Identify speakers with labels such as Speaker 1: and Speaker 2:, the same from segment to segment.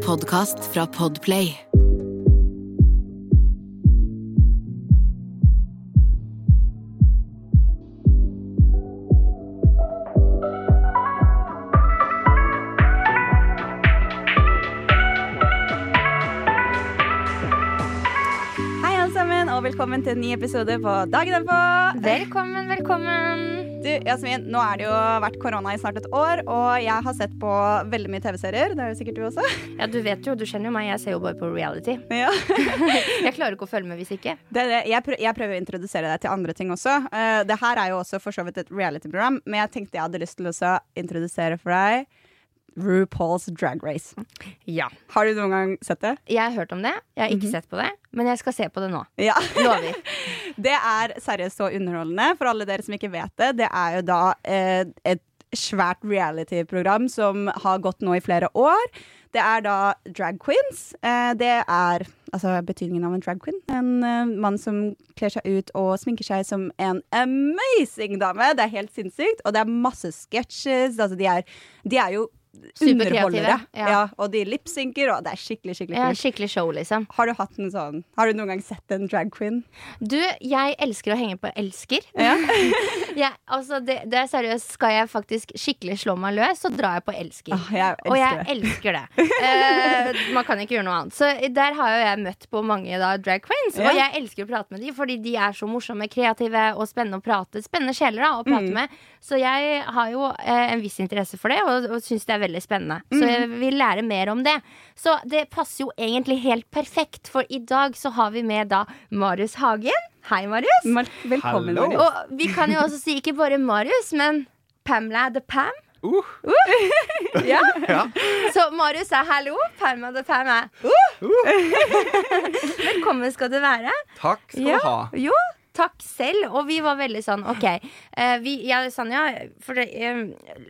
Speaker 1: podkast fra Podplay.
Speaker 2: Hei, alle sammen, og velkommen til en ny episode på Dagen derpå.
Speaker 3: Velkommen, velkommen.
Speaker 2: Du, Jasmin, nå er det jo vært korona i snart et år, og jeg har sett på veldig mye TV-serier. Det er jo sikkert du også.
Speaker 3: Ja, du vet jo, du kjenner jo meg, jeg ser jo bare på reality.
Speaker 2: Ja.
Speaker 3: jeg klarer ikke å følge med hvis ikke.
Speaker 2: Det er det. Jeg, prø jeg prøver å introdusere deg til andre ting også. Uh, det her er jo også for så vidt et reality-program, men jeg tenkte jeg hadde lyst til også å introdusere for deg RuPaul's Drag Race.
Speaker 3: Ja.
Speaker 2: Har du noen gang sett det?
Speaker 3: Jeg har hørt om det, jeg har ikke sett på det, men jeg skal se på det nå.
Speaker 2: Ja.
Speaker 3: Lover.
Speaker 2: Det er seriøst så underholdende. For alle dere som ikke vet det, det er jo da eh, et svært reality-program som har gått nå i flere år. Det er da drag queens. Eh, det er altså betydningen av en drag queen. En eh, mann som kler seg ut og sminker seg som en amazing dame. Det er helt sinnssykt. Og det er masse sketsjes. Altså, de er, de er jo
Speaker 3: Superkreative,
Speaker 2: underholdere.
Speaker 3: ja.
Speaker 2: Ja, og de lipsynker, og det er skikkelig, skikkelig
Speaker 3: Ja,
Speaker 2: kult.
Speaker 3: skikkelig show, liksom.
Speaker 2: Har du hatt en sånn Har du noen gang sett en drag queen?
Speaker 3: Du, jeg elsker å henge på elsker.
Speaker 2: Ja.
Speaker 3: Jeg, altså, det, det er seriøst, skal jeg faktisk skikkelig slå meg løs, så drar jeg på elsker.
Speaker 2: Åh, jeg elsker
Speaker 3: Og jeg
Speaker 2: det.
Speaker 3: elsker det. Eh, man kan ikke gjøre noe annet. Så der har jo jeg møtt på mange da, drag queens.
Speaker 2: Ja.
Speaker 3: Og jeg elsker å prate med dem, fordi de er så morsomme, kreative og spennende å prate. Spennende sjeler da, å
Speaker 4: Mm.
Speaker 3: prate med. Så jeg har jo eh, en viss interesse for det, og, og syns det er veldig spennende. Så jeg
Speaker 4: Mm.
Speaker 3: vil lære mer om det. Så det passer jo egentlig helt perfekt, for i dag så har vi med da Marius Hagen. Hei, Marius.
Speaker 2: Mal- Velkommen.
Speaker 4: Hallo.
Speaker 2: Marit.
Speaker 3: Og vi kan jo også si ikke bare Marius, men Pamela the Pam. Uh.
Speaker 4: Uh,
Speaker 3: Ja.
Speaker 4: ja.
Speaker 3: Så Marius er hallo, Pamela the Pam er uh.
Speaker 4: Uh.
Speaker 3: Velkommen skal du være.
Speaker 4: Takk skal
Speaker 3: Ja.
Speaker 4: du ha.
Speaker 3: Jo, takk selv. Og vi var veldig sånn, OK. eh, Vi, jeg og Sanja, for det, eh,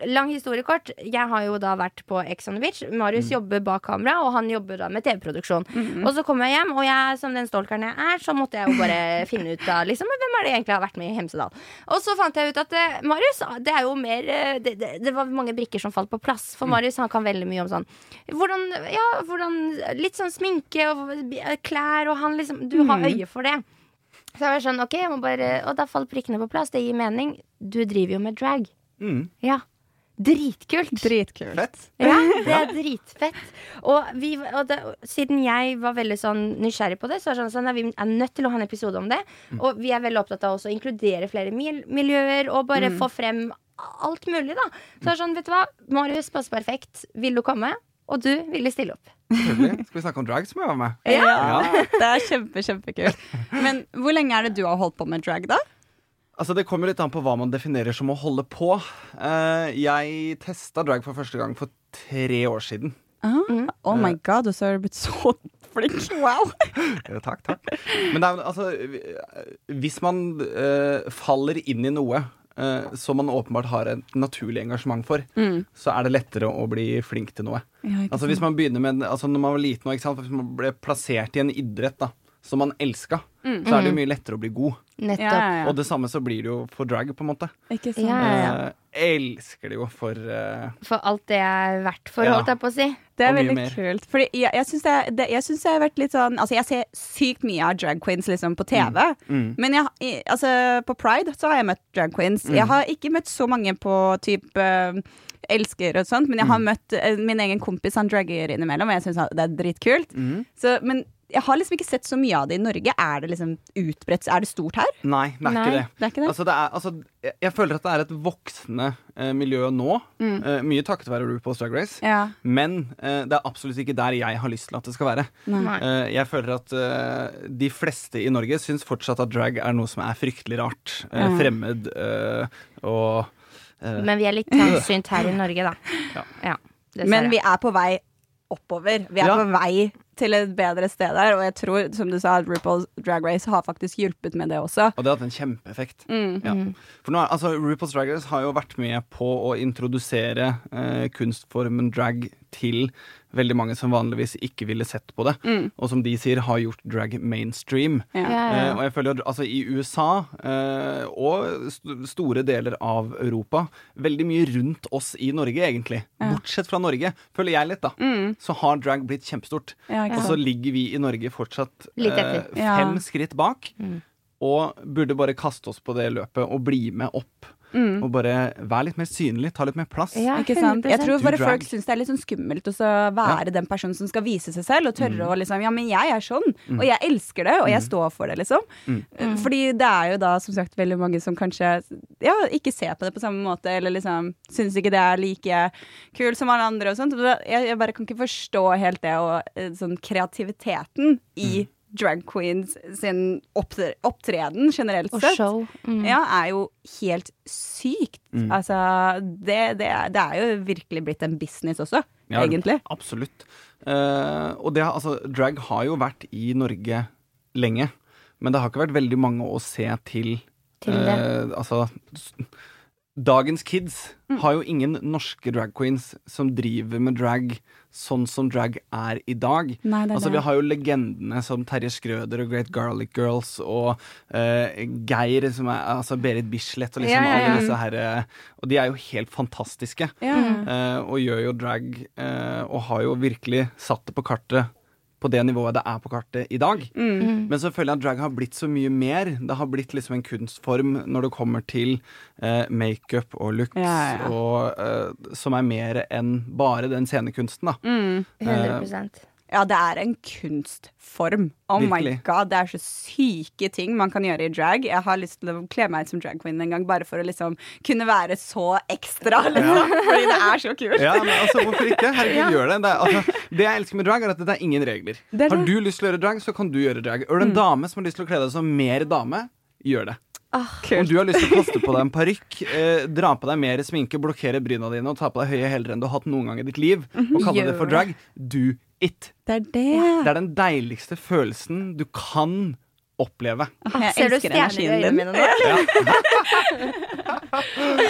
Speaker 3: lang historie kort. Jeg har jo da vært på Ex on the Beach. Marius jobber bak kamera, og han jobber da med TV-produksjon. Og så kom jeg hjem, og jeg, som den stalkeren jeg er, så måtte jeg jo bare finne ut av liksom, hvem er det egentlig har vært med i Hemsedal. Og så fant jeg ut at eh, Marius, det er jo mer eh, det, det, det var mange brikker som falt på plass. For Marius han kan veldig mye om sånn hvordan, ja, hvordan Litt sånn sminke og eh, klær, og han liksom Du har øye for det. Så jeg var sånn, ok, jeg må bare Og da falt prikkene på plass, det gir mening Du driver jo med drag
Speaker 4: Mm.
Speaker 3: Ja, dritkult
Speaker 2: Dritkult.
Speaker 4: Fett.
Speaker 3: ja, det er dritfett. Og, vi, og det, siden jeg var veldig sånn nysgjerrig på det, så er det sånn, sånn at vi er nødt til å ha en episode om det.
Speaker 4: Mm.
Speaker 3: Og vi er veldig opptatt av også å inkludere flere mil miljøer og bare
Speaker 4: Mm.
Speaker 3: få frem alt mulig, da. Så er det sånn, vet du hva, Marius passer perfekt. Vil du komme? Og du ville stille opp.
Speaker 4: Trivelig. Skal vi snakke om drag, så må jeg være med.
Speaker 2: Ja.
Speaker 4: Ja.
Speaker 2: Det er kjempe, kjempekult. Men hvor lenge er det du har holdt på med drag, da?
Speaker 4: Altså, det kommer litt an på hva man definerer som å holde på. Eh, jeg testa drag for første gang for tre år siden.
Speaker 2: Oh my god, og så har du blitt så flink. Wow.
Speaker 4: Eh, Takk, takk. Men det er, jo- altså, eh, hvis man eh, faller inn i noe eh, som man åpenbart har et naturlig engasjement for, så er det lettere å bli flink til noe. Altså hvis man begynner med altså Når man var liten, og ikke sant? hvis man ble plassert i en idrett da som man elska, så er det jo mye lettere å bli god.
Speaker 3: Nettopp.
Speaker 2: Ja, ja, ja.
Speaker 4: Og det samme så blir det jo for drag, på en måte.
Speaker 2: Ikke sant?
Speaker 3: Ja, ja, ja.
Speaker 4: Eh, elsker det jo for eh,
Speaker 3: For alt det er verdt for,
Speaker 4: Ja.
Speaker 3: holdt jeg på å si.
Speaker 2: Det er
Speaker 4: Og mye
Speaker 2: veldig
Speaker 4: mer.
Speaker 2: kult. Fordi jeg, jeg syns det, det, jeg synes jeg har vært litt sånn Altså, jeg ser sykt mye av drag queens liksom,
Speaker 4: Mm.
Speaker 2: på TV. Men jeg, i- altså, på Pride så har jeg møtt drag queens.
Speaker 4: Mm.
Speaker 2: Jeg har ikke møtt så mange på type eh, elsker og sånt, men jeg har
Speaker 4: Mm.
Speaker 2: møtt eh, min egen kompis, han dragger innimellom, og jeg syns det er dritkult.
Speaker 4: Mm.
Speaker 2: Så, men jeg har liksom ikke sett så mye av det i Norge. Er det liksom utbredt? Er det stort her?
Speaker 4: Nei, det er
Speaker 3: Nei,
Speaker 4: ikke det.
Speaker 2: det er ikke det.
Speaker 4: Altså, det er, altså, jeg, jeg føler at det er et voksende eh, miljø nå. Eh, mye takket være RuPaul's Drag Race.
Speaker 2: Mm. Ja.
Speaker 4: Men eh, det er absolutt ikke der jeg har lyst til at det skal være.
Speaker 3: Nei.
Speaker 4: Eh, jeg føler at eh, de fleste i Norge syns fortsatt at drag er noe som er fryktelig rart. eh, Fremmed eh, og eh,
Speaker 3: Men vi er litt trangsynt her i Norge, da.
Speaker 4: Ja.
Speaker 3: Ja, dessverre.
Speaker 2: Men vi er på vei oppover. Vi er
Speaker 4: Ja.
Speaker 2: på vei til et bedre sted der, og jeg tror, som du sa, at RuPaul's Drag Race har faktisk hjulpet med det også.
Speaker 4: Og det har hatt en kjempeeffekt. Ja. For nå, er- altså, RuPaul's Drag Race har jo vært med på å introdusere eh, kunstformen drag til veldig mange som vanligvis ikke ville sett på det. Og som de sier, har gjort drag mainstream.
Speaker 2: Ja.
Speaker 3: Ja, ja,
Speaker 4: Eh, og jeg føler at altså, i USA eh, og st store deler av Europa, veldig mye rundt oss i Norge, egentlig. Bortsett fra Norge, føler jeg litt, da. Så har drag blitt kjempestort.
Speaker 2: Ja, ikke
Speaker 4: Og så
Speaker 2: sant.
Speaker 4: ligger vi i Norge fortsatt eh,
Speaker 3: Litt etter.
Speaker 4: fem
Speaker 2: Ja. Mm.
Speaker 4: skritt bak. Og burde bare kaste oss på det løpet og bli med opp.
Speaker 2: Mm.
Speaker 4: Og bare være litt mer synlig, ta litt mer plass.
Speaker 3: Ja,
Speaker 2: Eh, Ikke sant? Jeg
Speaker 3: 100%.
Speaker 2: tror bare
Speaker 4: Do drag.
Speaker 2: folk syns det er litt sånn skummelt å så være den personen som skal vise seg selv, og tørre å liksom Ja, men jeg er sånn, og jeg elsker det, og jeg står for det, liksom.
Speaker 3: Mm.
Speaker 2: Fordi det er jo da som sagt veldig mange som kanskje ja, ikke ser på det på samme måte, eller liksom syns ikke det er like kult som alle andre og sånt. Og da- Jeg, jeg bare kan ikke forstå helt det, og eh, sånn kreativiteten i drag queens sin opptre opptreden generelt
Speaker 3: Og
Speaker 2: sett
Speaker 3: show. Mm.
Speaker 2: ja, er jo helt sykt.
Speaker 4: Mm.
Speaker 2: Altså, det, det, er, det er jo virkelig blitt en business også,
Speaker 4: Ja,
Speaker 2: egentlig.
Speaker 4: Absolutt. Eh, og det, har- altså, drag har jo vært i Norge lenge, men det har ikke vært veldig mange å se til.
Speaker 3: Til
Speaker 4: eh, altså, s- dagens kids
Speaker 2: Mm.
Speaker 4: har jo ingen norske drag queens som driver med drag sånn som drag er i dag.
Speaker 2: Nei, det er
Speaker 4: altså, vi
Speaker 2: det.
Speaker 4: har jo legendene som Terje Skrøder og Great Garlic Girls og eh, Geir, som er, altså Berit Bislett og
Speaker 3: Ja,
Speaker 4: liksom
Speaker 3: ja, ja.
Speaker 4: alle disse herre Og de er jo helt fantastiske.
Speaker 2: Ja.
Speaker 4: Eh, og gjør jo drag, eh, og har jo virkelig satt det på kartet på det nivået det er på kartet i dag.
Speaker 2: Mm.
Speaker 4: Men så føler jeg at drag har blitt så mye mer. Det har blitt liksom en kunstform når det kommer til eh, makeup og looks,
Speaker 2: Ja, ja.
Speaker 4: Og, eh, som er mer enn bare den scenekunsten, da.
Speaker 2: Mm. Eh,
Speaker 3: 100
Speaker 2: ja, det er en kunstform. Oh my
Speaker 4: Virkelig.
Speaker 2: god, det er så syke ting man kan gjøre i drag. Jeg har lyst til å kle meg ut som drag queen en gang, bare for å liksom kunne være så ekstra, liksom. Fordi det er så kult.
Speaker 4: Ja, men altså, hvorfor ikke? Herregud, gjør det. Det, er, altså, det jeg elsker med drag, er at det er ingen regler.
Speaker 2: Det er det. Mm.
Speaker 4: Har du lyst til å gjøre drag, så kan du gjøre drag. Er du en dame som har lyst til å kle deg som mer dame, gjør det. Om
Speaker 2: Kult.
Speaker 4: du har lyst til å kaste på deg en parykk, eh, dra på deg mer sminke, blokkere bryna dine og ta på deg høye hæler enn du har hatt noen gang i ditt liv, og kalle det
Speaker 3: Gjør
Speaker 4: for drag, do it.
Speaker 2: Det er det.
Speaker 4: Det er den deiligste følelsen du kan oppleve.
Speaker 2: Jeg
Speaker 3: Ah, Ser du
Speaker 2: elsker
Speaker 3: stjerner i
Speaker 2: energien
Speaker 3: øynene
Speaker 2: din.
Speaker 3: mine nå?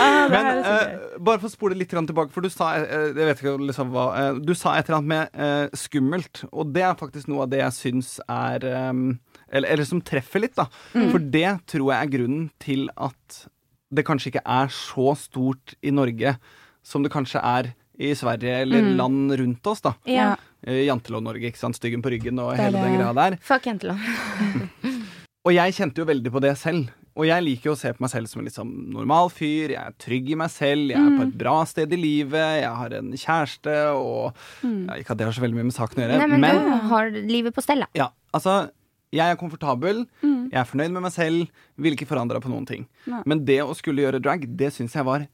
Speaker 2: Ah,
Speaker 4: Men eh, bare for å spole litt grann tilbake, for du sa, eh, jeg vet ikke liksom hva, eh, du sa et eller annet med eh, skummelt, og det er faktisk noe av det jeg syns er eh, eller, eller som treffer litt, da.
Speaker 2: Mm.
Speaker 4: For det tror jeg er grunnen til at det kanskje ikke er så stort i Norge som det kanskje er i Sverige eller
Speaker 2: Mm.
Speaker 4: land rundt oss, da.
Speaker 3: Ja.
Speaker 4: Eh, Jantelov-Norge, ikke sant. Styggen på ryggen og
Speaker 2: er
Speaker 4: hele
Speaker 2: det.
Speaker 4: den greia der.
Speaker 3: Fuck jentelov.
Speaker 4: Og jeg kjente jo veldig på det selv. Og jeg liker jo å se på meg selv som en litt sånn normal fyr. Jeg er trygg i meg selv, jeg er på et
Speaker 3: Mm.
Speaker 4: bra sted i livet, jeg har en kjæreste og ja, Ikke at det har så veldig mye med saken å
Speaker 3: Mm.
Speaker 4: gjøre,
Speaker 3: Nei, men
Speaker 4: men
Speaker 3: du har livet på stell, da.
Speaker 4: ja, altså jeg er komfortabel,
Speaker 3: Mm.
Speaker 4: jeg er fornøyd med meg selv, ville ikke forandra på noen ting.
Speaker 2: Nei.
Speaker 4: Men det å skulle gjøre drag, det syns jeg var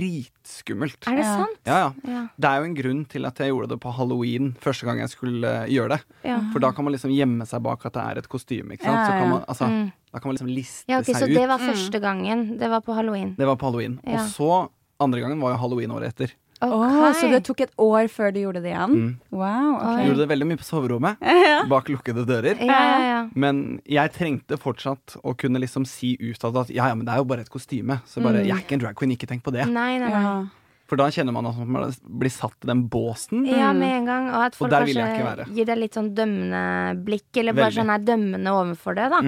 Speaker 4: dritskummelt.
Speaker 3: Er det
Speaker 2: Ja.
Speaker 3: sant?
Speaker 4: Ja, ja.
Speaker 3: Ja.
Speaker 4: Det er jo en grunn til at jeg gjorde det på halloween første gang jeg skulle eh, gjøre det.
Speaker 3: Ja.
Speaker 4: For da kan man liksom gjemme seg bak at det er et kostyme. Ikke sant?
Speaker 2: Ja,
Speaker 4: Så
Speaker 2: ja.
Speaker 4: kan man, altså, Da kan man liksom liste
Speaker 3: Mm. Ja, ok, så
Speaker 4: seg ut.
Speaker 3: det var
Speaker 2: Mm.
Speaker 3: første gangen. Det var på halloween.
Speaker 4: Det var på halloween.
Speaker 3: Ja.
Speaker 4: Og så andre gangen var jo halloween året etter.
Speaker 2: Å,
Speaker 3: Ok.
Speaker 2: så det tok et år før du gjorde det igjen?
Speaker 4: Mm.
Speaker 2: Wow. ok
Speaker 4: Jeg Gjorde det veldig mye på soverommet, bak lukkede dører.
Speaker 3: Ja, ja, ja.
Speaker 4: Men jeg trengte fortsatt å kunne liksom si utad at ja, ja, men det er jo bare et kostyme. Så
Speaker 3: Mm.
Speaker 4: bare, jeg er ikke en drag queen, ikke tenk på det.
Speaker 3: Nei, nei, nei.
Speaker 2: Ja.
Speaker 4: For da kjenner man at man blir satt i den båsen.
Speaker 3: Ja,
Speaker 2: Mm.
Speaker 3: med en gang. Og at folk
Speaker 4: der vil jeg ikke
Speaker 3: kanskje
Speaker 4: være.
Speaker 3: gir deg litt sånn dømmende blikk, eller bare
Speaker 4: Veldig. Mm.
Speaker 3: sånn er dømmende overfor det, da.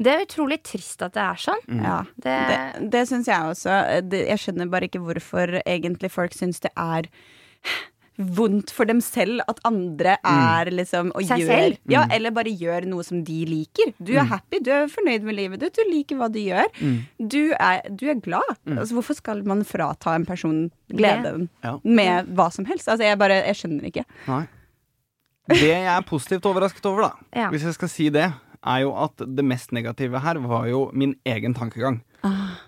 Speaker 3: Det er utrolig trist at det er sånn.
Speaker 2: Ja,
Speaker 3: Det,
Speaker 2: Det, det syns jeg også. Eh, Det, jeg skjønner bare ikke hvorfor egentlig folk syns det er vondt for dem selv at andre er liksom og
Speaker 3: Mm. Seg
Speaker 2: gjør,
Speaker 3: selv? Mm.
Speaker 2: Ja, eller bare gjør noe som de liker. Du er happy, du er fornøyd med livet ditt, du liker hva du gjør.
Speaker 3: Mm.
Speaker 2: Du, er, du er glad. Altså, hvorfor skal man frata en person gleden
Speaker 4: Ja.
Speaker 2: med hva som helst? Altså, jeg bare Jeg skjønner ikke.
Speaker 4: Nei. Det jeg er positivt overrasket over, da,
Speaker 3: Ja.
Speaker 4: hvis jeg skal si det, er jo at det mest negative her var jo min egen tankegang.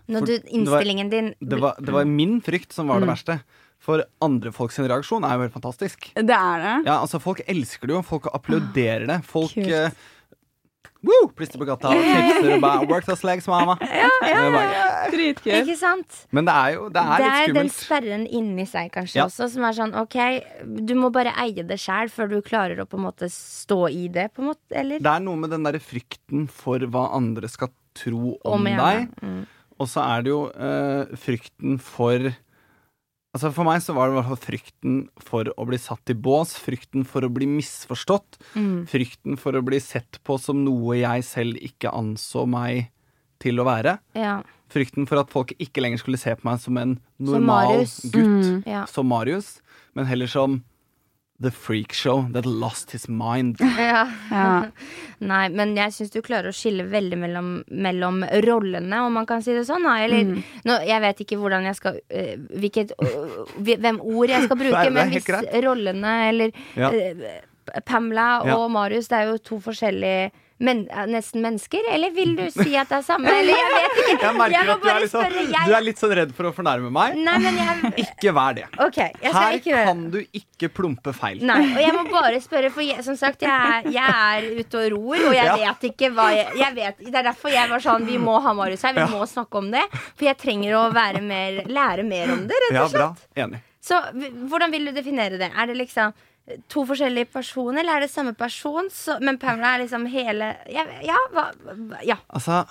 Speaker 3: når du,
Speaker 4: for-
Speaker 3: innstillingen din
Speaker 4: Det var, det var min frykt som
Speaker 3: Mm.
Speaker 4: var det verste. For andre folk sin reaksjon er jo helt fantastisk.
Speaker 2: Det er det.
Speaker 4: Ja, altså Folk elsker det jo. Folk applauderer det. Folk
Speaker 2: Kult.
Speaker 4: eh, woo, plister på gata og knipser og bare 'Work those legs, mama'. Det er bare-
Speaker 2: Dritkult.
Speaker 3: Ikke sant?
Speaker 4: Men det er jo det er
Speaker 3: Det
Speaker 4: litt
Speaker 3: er den
Speaker 4: skummelt.
Speaker 3: sperren inni seg kanskje
Speaker 4: Ja.
Speaker 3: også, som er sånn OK, du må bare eie det sjæl før du klarer å på en måte stå i det, på en måte, eller?
Speaker 4: Det er noe med den derre frykten for hva andre skal tro om
Speaker 3: Om igjen,
Speaker 4: deg.
Speaker 3: ja. Mm.
Speaker 4: Og så er det jo eh, frykten for Altså For meg så var det i hvert fall frykten for å bli satt i bås, frykten for å bli misforstått,
Speaker 3: Mm.
Speaker 4: frykten for å bli sett på som noe jeg selv ikke anså meg til å være.
Speaker 3: Ja.
Speaker 4: Frykten for at folk ikke lenger skulle se på meg som en
Speaker 3: Som
Speaker 4: normal
Speaker 3: Marius. Mm.
Speaker 4: gutt
Speaker 3: ja.
Speaker 4: som Marius, men heller som The freak show that lost his mind.
Speaker 3: ja.
Speaker 2: Ja.
Speaker 3: Nei, men jeg syns du klarer å skille veldig mellom, mellom rollene, om man kan si det sånn. Da. Eller
Speaker 4: Mm.
Speaker 3: nå, jeg vet ikke hvordan jeg skal eh, Hvilket øh, hvi- Hvem ord jeg skal bruke,
Speaker 4: Nei, det er
Speaker 3: men
Speaker 4: helt
Speaker 3: hvis
Speaker 4: greit.
Speaker 3: rollene eller
Speaker 4: Ja.
Speaker 3: eh, P- Pamela og
Speaker 4: Ja.
Speaker 3: Marius, det er jo to forskjellige men, eh, nesten mennesker, eller vil du si at det er samme? Eller jeg vet ikke.
Speaker 4: Jeg merker
Speaker 3: må
Speaker 4: at du er,
Speaker 3: bare
Speaker 4: litt sånn-
Speaker 3: spørre,
Speaker 4: du
Speaker 3: jeg. Mm.
Speaker 4: er litt sånn redd for å fornærme meg.
Speaker 3: Nei, men jeg
Speaker 4: Ikke vær det.
Speaker 3: OK, jeg skal
Speaker 4: Her
Speaker 3: ikke gjøre det.
Speaker 4: kan du ikke plumpe feil.
Speaker 3: Nei, og jeg må bare spørre, for jeg, som sagt, jeg er, jeg er ute og ror, og jeg
Speaker 4: Ja.
Speaker 3: vet ikke hva jeg, jeg vet, Det er derfor jeg var sånn, vi må ha Marius her, vi må snakke om det. For jeg trenger å være mer, lære mer om det, rett
Speaker 4: Ja,
Speaker 3: og
Speaker 4: bra.
Speaker 3: slett.
Speaker 4: Enig.
Speaker 3: Så v- hvordan vil du definere det? Er det liksom to forskjellige personer, eller er det samme person? Så, men Pamela er liksom hele Ja, ja hva hva- Ja.
Speaker 4: Altså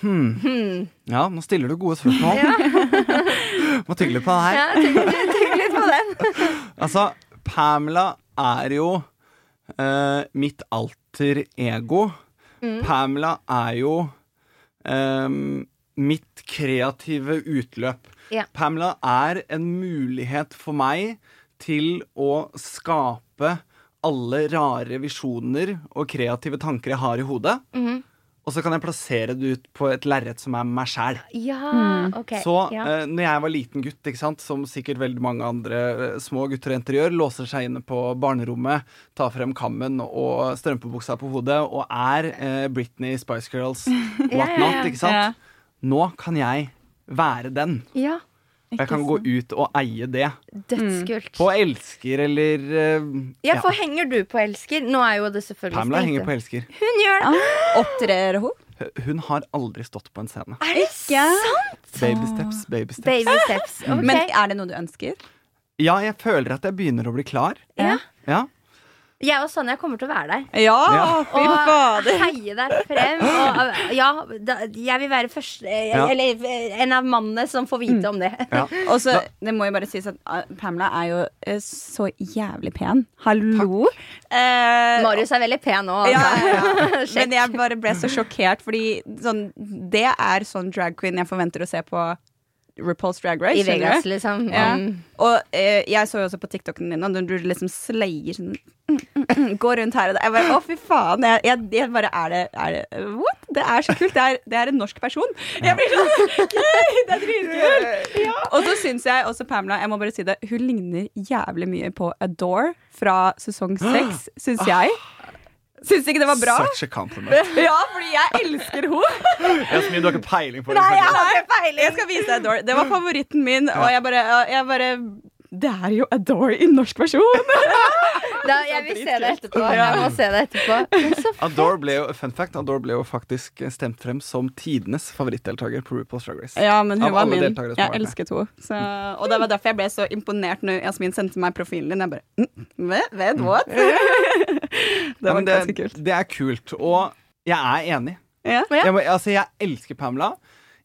Speaker 4: hmm. Ja, nå stiller du gode spørsmål. Må tygge litt på den her.
Speaker 3: ja tenk, tenk litt på den.
Speaker 4: Altså, Pamela er jo eh, mitt alter ego. Pamela er jo eh, mitt kreative utløp.
Speaker 3: Ja.
Speaker 4: Pamela er en mulighet for meg til å skape alle rare visjoner og kreative tanker jeg har i hodet. Og så kan jeg plassere det ut på et lerret som er meg sjæl.
Speaker 3: Ja, ok.
Speaker 4: Så
Speaker 3: ja.
Speaker 4: eh, når jeg var liten gutt, ikke sant, som sikkert veldig mange andre eh, små gutter og jenter gjør, låser seg inne på barnerommet, tar frem kammen og strømpebuksa på hodet og er eh, Britney, Spice Girls, what not,
Speaker 2: Ja.
Speaker 4: ikke sant? Nå kan jeg være den.
Speaker 3: ja.
Speaker 4: Og jeg kan gå ut og eie det.
Speaker 3: Dødskult.
Speaker 4: På elsker eller eh,
Speaker 3: Ja, for henger du på elsker? Nå er jo det selvfølgelig
Speaker 4: Pamela
Speaker 3: stengt.
Speaker 4: henger på elsker.
Speaker 3: Hun gjør det.
Speaker 2: Opptrer hun?
Speaker 4: Hun har aldri stått på en scene.
Speaker 3: Er det sant?
Speaker 4: Baby steps, baby steps.
Speaker 3: Baby steps. ok.
Speaker 2: Mm. Men er det noe du ønsker?
Speaker 4: Ja, jeg føler at jeg begynner å bli klar.
Speaker 3: ja.
Speaker 4: Ja.
Speaker 3: Jeg og Sonja kommer til å være der.
Speaker 2: Ja,
Speaker 4: Ja.
Speaker 2: fy
Speaker 3: Og
Speaker 2: fader.
Speaker 3: heie deg frem. Og, øh, ja, da, jeg vil være første eh,
Speaker 4: Ja.
Speaker 3: Eller eh, en av mannene som får
Speaker 2: Mm.
Speaker 3: vite om det.
Speaker 4: ja.
Speaker 2: Og så, det må jo bare sies at ah, Pamela er jo eh, så jævlig pen. Hallo. Eh,
Speaker 3: Marius er veldig pen nå.
Speaker 2: Ja,
Speaker 3: Altså.
Speaker 2: ja, ja. Men jeg bare ble så sjokkert, fordi sånn, det er sånn drag queen jeg forventer å se på RuPaul's Drag Race.
Speaker 3: I
Speaker 2: skjønner
Speaker 3: Vegas,
Speaker 2: du?
Speaker 3: liksom.
Speaker 2: Ja.
Speaker 3: Mm.
Speaker 2: Og eh, jeg så jo også på TikToken din, og du liksom slayer sånn mm, mm, mm, Går rundt her og der. Jeg bare, Å, fy faen. Jeg, jeg, jeg bare Er det, er det What? Det er så kult. Det er, det er en norsk person. Jeg blir sånn Yay, det er dritkult. Og så syns jeg også Pamela Jeg må bare si det Hun ligner jævlig mye på Adore fra sesong seks, syns jeg. Syns ikke det var bra?
Speaker 4: Such a compliment.
Speaker 2: Ja, fordi jeg elsker henne.
Speaker 4: Jeg har så mye du har ikke peiling på. liksom.
Speaker 2: Nei, jeg har ikke peiling. Jeg skal vise deg Adore. Det var favoritten min, og jeg bare, jeg bare Det er jo Adore i norsk versjon.
Speaker 3: Da, jeg vil se det etterpå. Jeg må se det etterpå. Men så
Speaker 4: Adore ble jo, fun fact, Adore ble jo faktisk stemt frem som tidenes favorittdeltaker på RuPaul's Drag Race.
Speaker 2: Ja, men hun
Speaker 4: Av
Speaker 2: var
Speaker 4: alle
Speaker 2: min.
Speaker 4: deltakere som har
Speaker 2: Jeg
Speaker 4: vært med.
Speaker 2: elsket henne. Så, Mm. og det var derfor jeg ble så imponert når Jasmin sendte meg profilen din. Jeg bare mm, Vet, vet what? Det
Speaker 4: Ja,
Speaker 2: var
Speaker 4: men
Speaker 2: ganske kult.
Speaker 4: Det er kult, og jeg er enig.
Speaker 2: Ja.
Speaker 3: Ja.
Speaker 4: Jeg, må, altså, jeg elsker Pamela.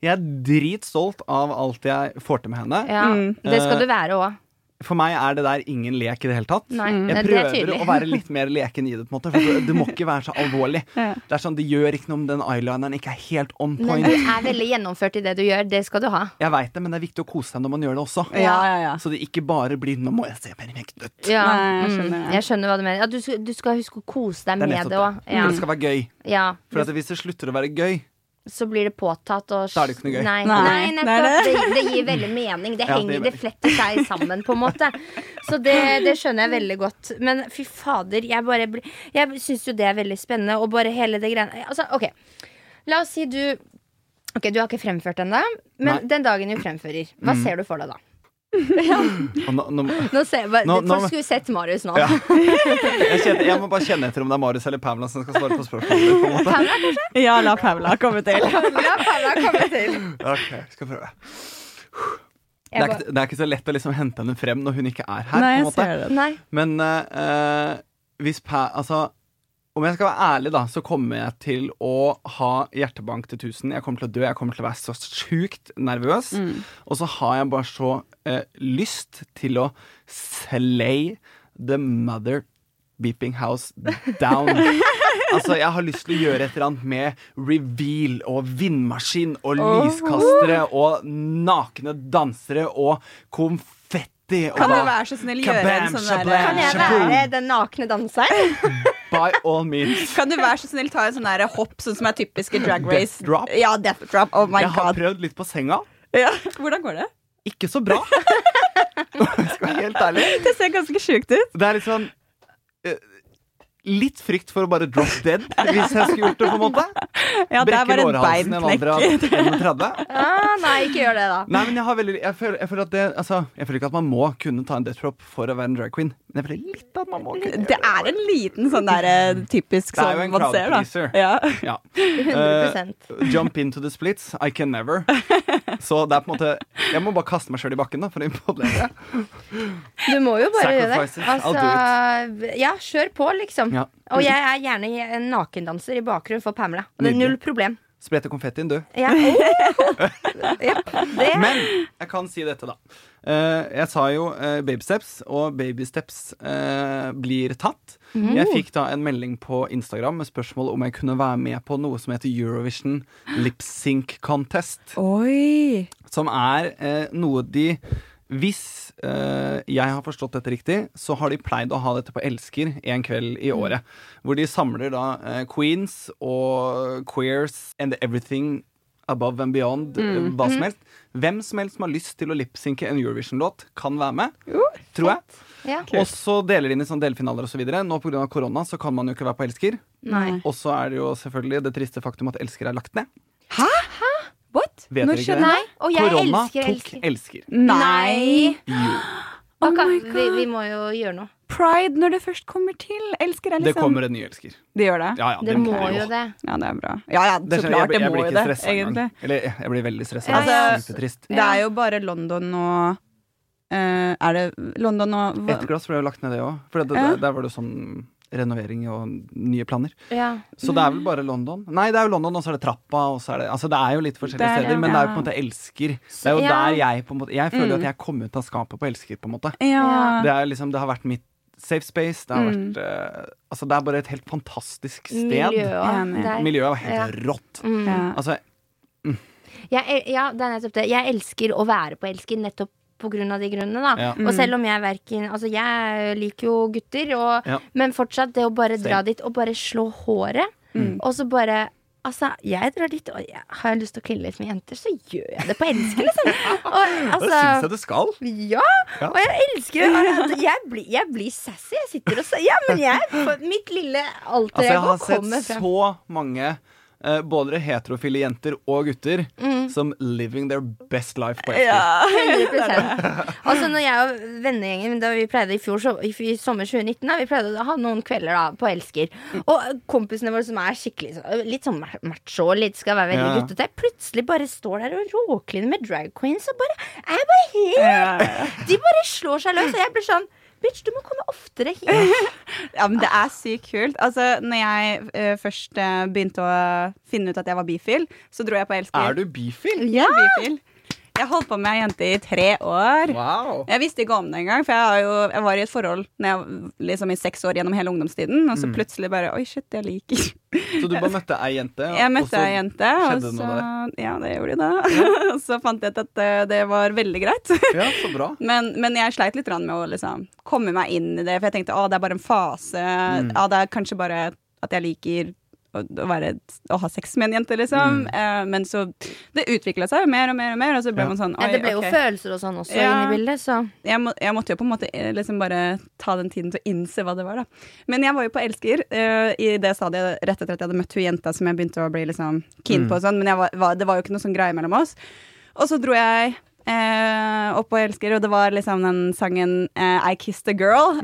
Speaker 4: Jeg er dritstolt av alt jeg får til med henne.
Speaker 3: ja,
Speaker 2: Mm.
Speaker 3: det skal du være òg.
Speaker 4: For meg er det der ingen lek i det hele tatt.
Speaker 3: Nei,
Speaker 4: Jeg
Speaker 3: det er
Speaker 4: prøver
Speaker 3: tydelig.
Speaker 4: å være litt mer leken i det, på en måte. For det, det må ikke være så alvorlig.
Speaker 2: Ja.
Speaker 4: Det er sånn, det gjør ikke noe om den eyelineren ikke er helt on
Speaker 3: Men du
Speaker 4: point.
Speaker 3: er veldig gjennomført i det du gjør. Det skal du ha.
Speaker 4: Jeg vet det, men det er viktig å kose seg når man gjør det også.
Speaker 2: Ja, ja, ja.
Speaker 4: Så det ikke bare blir 'nå må jeg se perfekt ut'.
Speaker 3: Ja,
Speaker 2: Nei, jeg
Speaker 3: mm,
Speaker 2: skjønner det.
Speaker 3: jeg skjønner hva du mener. Ja, du, skal, du skal huske å kose deg
Speaker 4: Det er
Speaker 3: med det
Speaker 4: nettopp
Speaker 3: òg.
Speaker 4: det. Mm.
Speaker 3: Ja.
Speaker 4: For det skal være gøy.
Speaker 3: Ja.
Speaker 4: For at hvis det slutter å være gøy
Speaker 3: Så blir det påtatt. Og...
Speaker 4: Da er det ikke noe gøy.
Speaker 3: Nei,
Speaker 2: Nei.
Speaker 3: nei,
Speaker 2: Nei,
Speaker 3: nettopp.
Speaker 2: det-
Speaker 3: Det, det gir veldig mening. Det
Speaker 4: Ja, det
Speaker 3: henger,
Speaker 4: gir
Speaker 3: det, fletter seg sammen, på en måte. Så det, det skjønner jeg veldig godt. Men fy fader, jeg bare blir Jeg syns jo det er veldig spennende, og bare hele det greiene Altså, OK. La oss si du Ok, Du har ikke fremført ennå, men
Speaker 4: Nei. Mm.
Speaker 3: den dagen du fremfører, hva ser du for deg da?
Speaker 4: og nå, nå,
Speaker 3: Nå ser, bare,
Speaker 4: Nå- nå-
Speaker 3: Folk skulle sett Marius nå.
Speaker 4: Ja. jeg, kjenner, jeg må bare kjenne etter om det er Marius eller Pamela som skal svare på spørsmålet. På en måte.
Speaker 2: Ja, la Paula komme til.
Speaker 3: La Pamela komme til.
Speaker 4: Ok, skal prøve det
Speaker 3: Jeg
Speaker 4: er, ikke, det er ikke så lett å liksom hente henne frem når hun ikke er her.
Speaker 2: Nei,
Speaker 4: på en
Speaker 2: jeg
Speaker 4: måte.
Speaker 2: ser det.
Speaker 3: bare- Nei.
Speaker 4: Men eh, eh, hvis pa, altså, Om jeg skal være ærlig, da, så kommer jeg til å ha hjertebank til 1000. Jeg kommer til å dø, jeg kommer til å være så sjukt nervøs.
Speaker 2: Mm.
Speaker 4: Og så har jeg bare så eh, lyst til å slay the mother beeping house down. altså, jeg har lyst til å gjøre et eller annet med reveal og vindmaskin og lyskastere og nakne dansere og konfetti. og
Speaker 2: Kan du
Speaker 4: hva-
Speaker 2: være så snill
Speaker 4: Kabam,
Speaker 2: gjøre en sånn derre
Speaker 4: shablam.
Speaker 3: Kan jeg
Speaker 4: Shaboom.
Speaker 3: være den nakne danseren?
Speaker 4: By all means.
Speaker 2: Kan du være så snill ta en sånn derre hopp, sånn som er typiske drag race?
Speaker 4: Death drop.
Speaker 2: Ja, death drop. Oh my
Speaker 4: Jeg har
Speaker 2: god.
Speaker 4: prøvd litt på senga.
Speaker 2: Ja. Hvordan går det?
Speaker 4: Ikke så bra. Jeg skal være helt ærlig.
Speaker 2: Det ser ganske sjukt ut.
Speaker 4: Det er litt sånn eh, Litt frykt for å bare drop dead hvis jeg skulle gjort det, på en måte.
Speaker 2: Ja, der var et
Speaker 4: lårhalsen i en alder av
Speaker 2: beinknekk.
Speaker 4: 31.
Speaker 3: Ah, nei, ikke gjør det, da.
Speaker 4: Nei, men jeg har veldig jeg føler, jeg føler at det Altså, jeg føler ikke at man må kunne ta en death drop for å være en drag queen, men jeg føler litt at man må kunne gjøre
Speaker 2: Det er en liten sånn der eh, typisk
Speaker 4: Det er jo
Speaker 2: sånn
Speaker 4: en
Speaker 2: man
Speaker 4: crowd
Speaker 2: ser, da.
Speaker 4: pleaser.
Speaker 2: Ja.
Speaker 4: Ja. Eh,
Speaker 3: 100
Speaker 4: Jump into the splits. I can never. Så det er på en måte Jeg må bare kaste meg sjøl i bakken da for å imponere.
Speaker 3: Du må jo bare gjøre det.
Speaker 4: Sacrifices, I'll
Speaker 3: Altså, ja, kjør på, liksom.
Speaker 4: Ja.
Speaker 3: Og jeg er gjerne en nakendanser i bakgrunnen for Pamela. Og det er
Speaker 4: Nydelig.
Speaker 3: null problem.
Speaker 4: Sprete konfettien, du.
Speaker 3: Ja. Oh! ja, det
Speaker 4: Men jeg kan si dette, da. Eh, jeg sa jo eh, babysteps, og babysteps eh, blir tatt. Jeg fikk da en melding på Instagram med spørsmål om jeg kunne være med på noe som heter Eurovision Lip Sync Contest.
Speaker 2: Oi.
Speaker 4: Som er eh, noe de Hvis eh, jeg har forstått dette riktig, så har de pleid å ha dette på Elsker en kveld
Speaker 3: Mm.
Speaker 4: i året. Hvor de samler da eh, queens og queers and everything above and beyond.
Speaker 3: Mm.
Speaker 4: eh, Hva som helst. Hvem som helst som har lyst til å lipsynke en Eurovision-låt, kan være med. tror jeg.
Speaker 3: ja.
Speaker 4: Og så deler de inn i sånn delfinaler osv. Så Nå pga. korona så kan man jo ikke være på Elsker.
Speaker 3: Nei.
Speaker 4: Og så er det jo selvfølgelig det triste faktum at Elsker er lagt ned.
Speaker 2: What?
Speaker 4: Vet
Speaker 2: Når
Speaker 4: dere ikke
Speaker 2: skjedde
Speaker 4: det?
Speaker 3: Nei. Og jeg
Speaker 4: korona
Speaker 3: elsker,
Speaker 4: tok
Speaker 3: elsker. Oh
Speaker 4: Elsker.
Speaker 2: Nei.
Speaker 3: Ok,
Speaker 2: Oh my
Speaker 3: vi, vi må jo gjøre noe.
Speaker 2: Pride når det først kommer til. Elsker deg,
Speaker 4: Det
Speaker 2: liksom.
Speaker 4: kommer en ny elsker.
Speaker 2: Det gjør det?
Speaker 4: Ja, ja,
Speaker 3: sånn- Det må jo det.
Speaker 2: Ja, det er bra. Ja ja,
Speaker 4: Det
Speaker 2: så
Speaker 4: skjer- jeg
Speaker 2: klart. Det
Speaker 4: blir- jeg
Speaker 2: må jo
Speaker 4: blir ikke
Speaker 2: det,
Speaker 4: stresset engang.
Speaker 2: egentlig.
Speaker 4: Eller jeg- jeg blir veldig stressa.
Speaker 3: Ja, ja.
Speaker 4: Kjempetrist.
Speaker 2: Det er jo bare London og eh, Er det London og hva-
Speaker 4: Et glass ble jo lagt ned, det òg. For det,
Speaker 2: Ja.
Speaker 4: det, der var det jo sånn renovering og nye planer.
Speaker 3: Ja.
Speaker 4: Så det er vel bare London. Nei, det er jo London, og så er det trappa, og så er det Altså, det er jo litt forskjellige
Speaker 2: Det er-
Speaker 4: steder, men det er jo på en
Speaker 2: ja.
Speaker 4: måte elsker. Det er jo
Speaker 3: Ja. Mm.
Speaker 4: der jeg på en måte Jeg føler jo at jeg kom ut av skapet på elsker, på en måte.
Speaker 2: Ja.
Speaker 4: Det er liksom Det har vært mitt safe space. Det har
Speaker 3: Mm.
Speaker 4: vært eh, Altså, det er bare et helt fantastisk sted.
Speaker 3: Miljøet òg.
Speaker 2: Enig.
Speaker 3: Der. Mm.
Speaker 4: Miljøet var helt rått.
Speaker 2: Ja.
Speaker 4: Altså,
Speaker 3: Jeg, el- ja, det er nettopp det. Jeg elsker å være på elsker nettopp på grunn av de grunnene, da.
Speaker 4: Ja. Mm.
Speaker 3: Og selv om jeg verken Altså, jeg liker jo gutter, og,
Speaker 4: Ja.
Speaker 3: men fortsatt det å bare dra
Speaker 4: Same. Mm.
Speaker 3: dit og bare slå håret, og så bare Altså, jeg drar dit, og jeg har jeg lyst til å kline litt med jenter, så gjør jeg det på elsker, liksom. Og,
Speaker 4: det syns
Speaker 3: altså,
Speaker 4: jeg du skal.
Speaker 3: ja, og jeg elsker det. Altså, Jeg blir, jeg blir sassy. Jeg sitter og sier Ja, men jeg Mitt lille alter
Speaker 4: Altså, jeg
Speaker 3: ego
Speaker 4: har
Speaker 3: kommer
Speaker 4: sett
Speaker 3: frem.
Speaker 4: så mange eh, både heterofile jenter og gutter
Speaker 2: Mm.
Speaker 4: som living their best life på Elsker.
Speaker 3: 100% Altså når jeg og vennegjengen Da vi pleide i fjor så, i, f- i sommer 2019 da, Vi pleide å ha noen kvelder da på Elsker
Speaker 4: Mm.
Speaker 3: Og kompisene våre som er skikkelig så- Litt sånn ma- macho og Litt skal være veldig
Speaker 4: Ja.
Speaker 3: guttete Plutselig bare står der og råkliner med drag queens Og bare, jeg er bare helt
Speaker 2: Ja.
Speaker 3: De bare slår seg løs Og jeg blir sånn, bitch du må komme oftere hit
Speaker 2: ja, men det er sykt kult. Altså, når jeg eh, først eh, begynte å finne ut at jeg var bifil, så dro jeg på Elsker.
Speaker 4: Er du bifil?
Speaker 2: Ja! Bifil. Jeg holdt på med ei jente i tre år.
Speaker 4: Wow.
Speaker 2: Jeg visste ikke om det engang, for jeg, har jo, jeg var i et forhold når jeg, liksom, i seks år gjennom hele ungdomstiden, og så
Speaker 4: Mm.
Speaker 2: plutselig bare Oi, shit, jeg liker
Speaker 4: Så du bare møtte ei jente?
Speaker 2: Jeg møtte ei jente, og
Speaker 4: skjedde det
Speaker 2: så
Speaker 4: noe
Speaker 2: Ja, det gjorde det. Og så fant jeg ut at eh, det var veldig greit.
Speaker 4: Ja, så bra.
Speaker 2: Men, men jeg sleit litt grann med å liksom, komme meg inn i det, for jeg tenkte å, det er bare en fase. Ja, det er kanskje bare at jeg liker å, å, være, å ha sex med en jente, liksom. Eh, men så Det utvikla seg jo mer og mer og mer, og så ble
Speaker 4: Ja.
Speaker 2: man sånn
Speaker 3: ja,
Speaker 2: oi,
Speaker 3: Det ble
Speaker 2: ok.
Speaker 3: jo følelser og sånn også
Speaker 2: Ja.
Speaker 3: inn i bildet Så
Speaker 2: jeg, må, jeg måtte jo på en måte eh, liksom bare ta den tiden til å innse hva det var, da. Men jeg var jo på Elsker eh, i det stadiet rett etter at jeg hadde møtt hun jenta som jeg begynte å bli liksom keen på og sånn, men jeg var, var, det var jo ikke noe sånn greie mellom oss. Og så dro jeg eh, opp på Elsker, og det var liksom den sangen eh, I Kissed a Girl.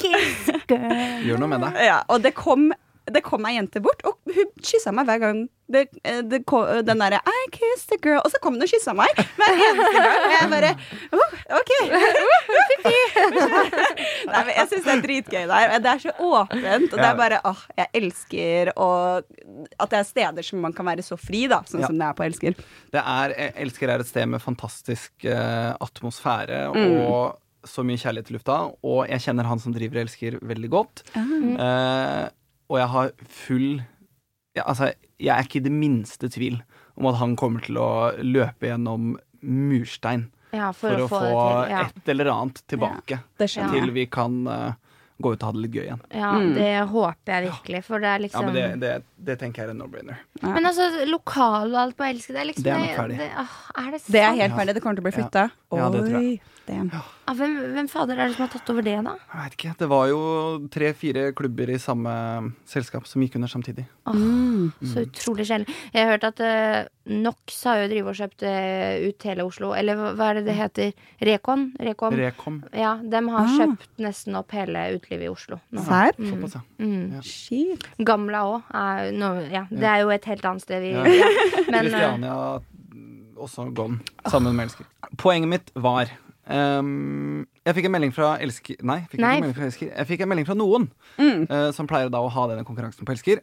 Speaker 3: Kiss girl
Speaker 4: Gjør noe med deg.
Speaker 2: ja, og det kom det kom ei jente bort, og hun kyssa meg hver gang. Det, eh, det ko- den derre I kissed a girl. Og så kom hun og kyssa meg hver eneste gang. Og jeg bare oh, OK. Nei, men jeg syns det er dritgøy der. Det er så åpent, og det
Speaker 4: Ja.
Speaker 2: er bare åh, jeg elsker å At det er steder som man kan være så fri, da, sånn
Speaker 4: Ja.
Speaker 2: som det er på Elsker.
Speaker 4: Det er, jeg elsker er et sted med fantastisk eh, atmosfære og så mye kjærlighet i lufta. Og jeg kjenner han som driver Elsker veldig godt. Eh, og jeg har full ja, Altså, jeg er ikke i det minste tvil om at han kommer til å løpe gjennom murstein
Speaker 3: Ja, for,
Speaker 4: for, å, få,
Speaker 3: det til. Ja.
Speaker 4: et eller annet tilbake.
Speaker 2: Det skjønner
Speaker 4: Til
Speaker 2: jeg.
Speaker 4: vi kan eh, gå ut og ha det litt gøy igjen.
Speaker 3: Ja, det håper jeg virkelig, for det er
Speaker 4: Mm. Ja,
Speaker 3: liksom
Speaker 4: men det,
Speaker 3: men,
Speaker 4: det, det tenker jeg er en no-brainer.
Speaker 3: altså, lokal og alt på Elsker, det er liksom
Speaker 4: Det er nok ferdig.
Speaker 3: det- åh, er det sant?
Speaker 2: Det er helt ferdig. Det kommer til å bli flytta.
Speaker 4: Ja, det tror jeg.
Speaker 3: Ah, hvem, hvem fader er det som har tatt over det, da?
Speaker 4: Jeg vet ikke. Det var jo tre-fire klubber i samme selskap som gikk under samtidig.
Speaker 3: Åh, Ah,
Speaker 2: Mm.
Speaker 3: Så utrolig sjelden. Jeg har hørt at eh, NOx har jo drivet og kjøpt eh, ut hele Oslo. Eller hva- hva er det det heter? Rekon? Rekom?
Speaker 4: Rekom.
Speaker 3: ja, de har
Speaker 2: Mm. Ah.
Speaker 3: kjøpt nesten opp hele utelivet i Oslo. nå.
Speaker 2: Serr?
Speaker 4: Såpass, ja.
Speaker 3: Mm.
Speaker 2: Shit.
Speaker 3: Gamla òg. Ja, det er jo et helt annet sted vi
Speaker 4: Ja.
Speaker 3: ja. Men eh,
Speaker 4: Kristiania også gone, sammen med Elsker. Poenget mitt var ehm, Jeg fikk en melding fra Elsker Nei, jeg fikk
Speaker 3: Nei. Mm.
Speaker 4: ikke en melding fra Elsker. Jeg fikk en melding fra noen eh, som pleier da å ha denne konkurransen på Elsker.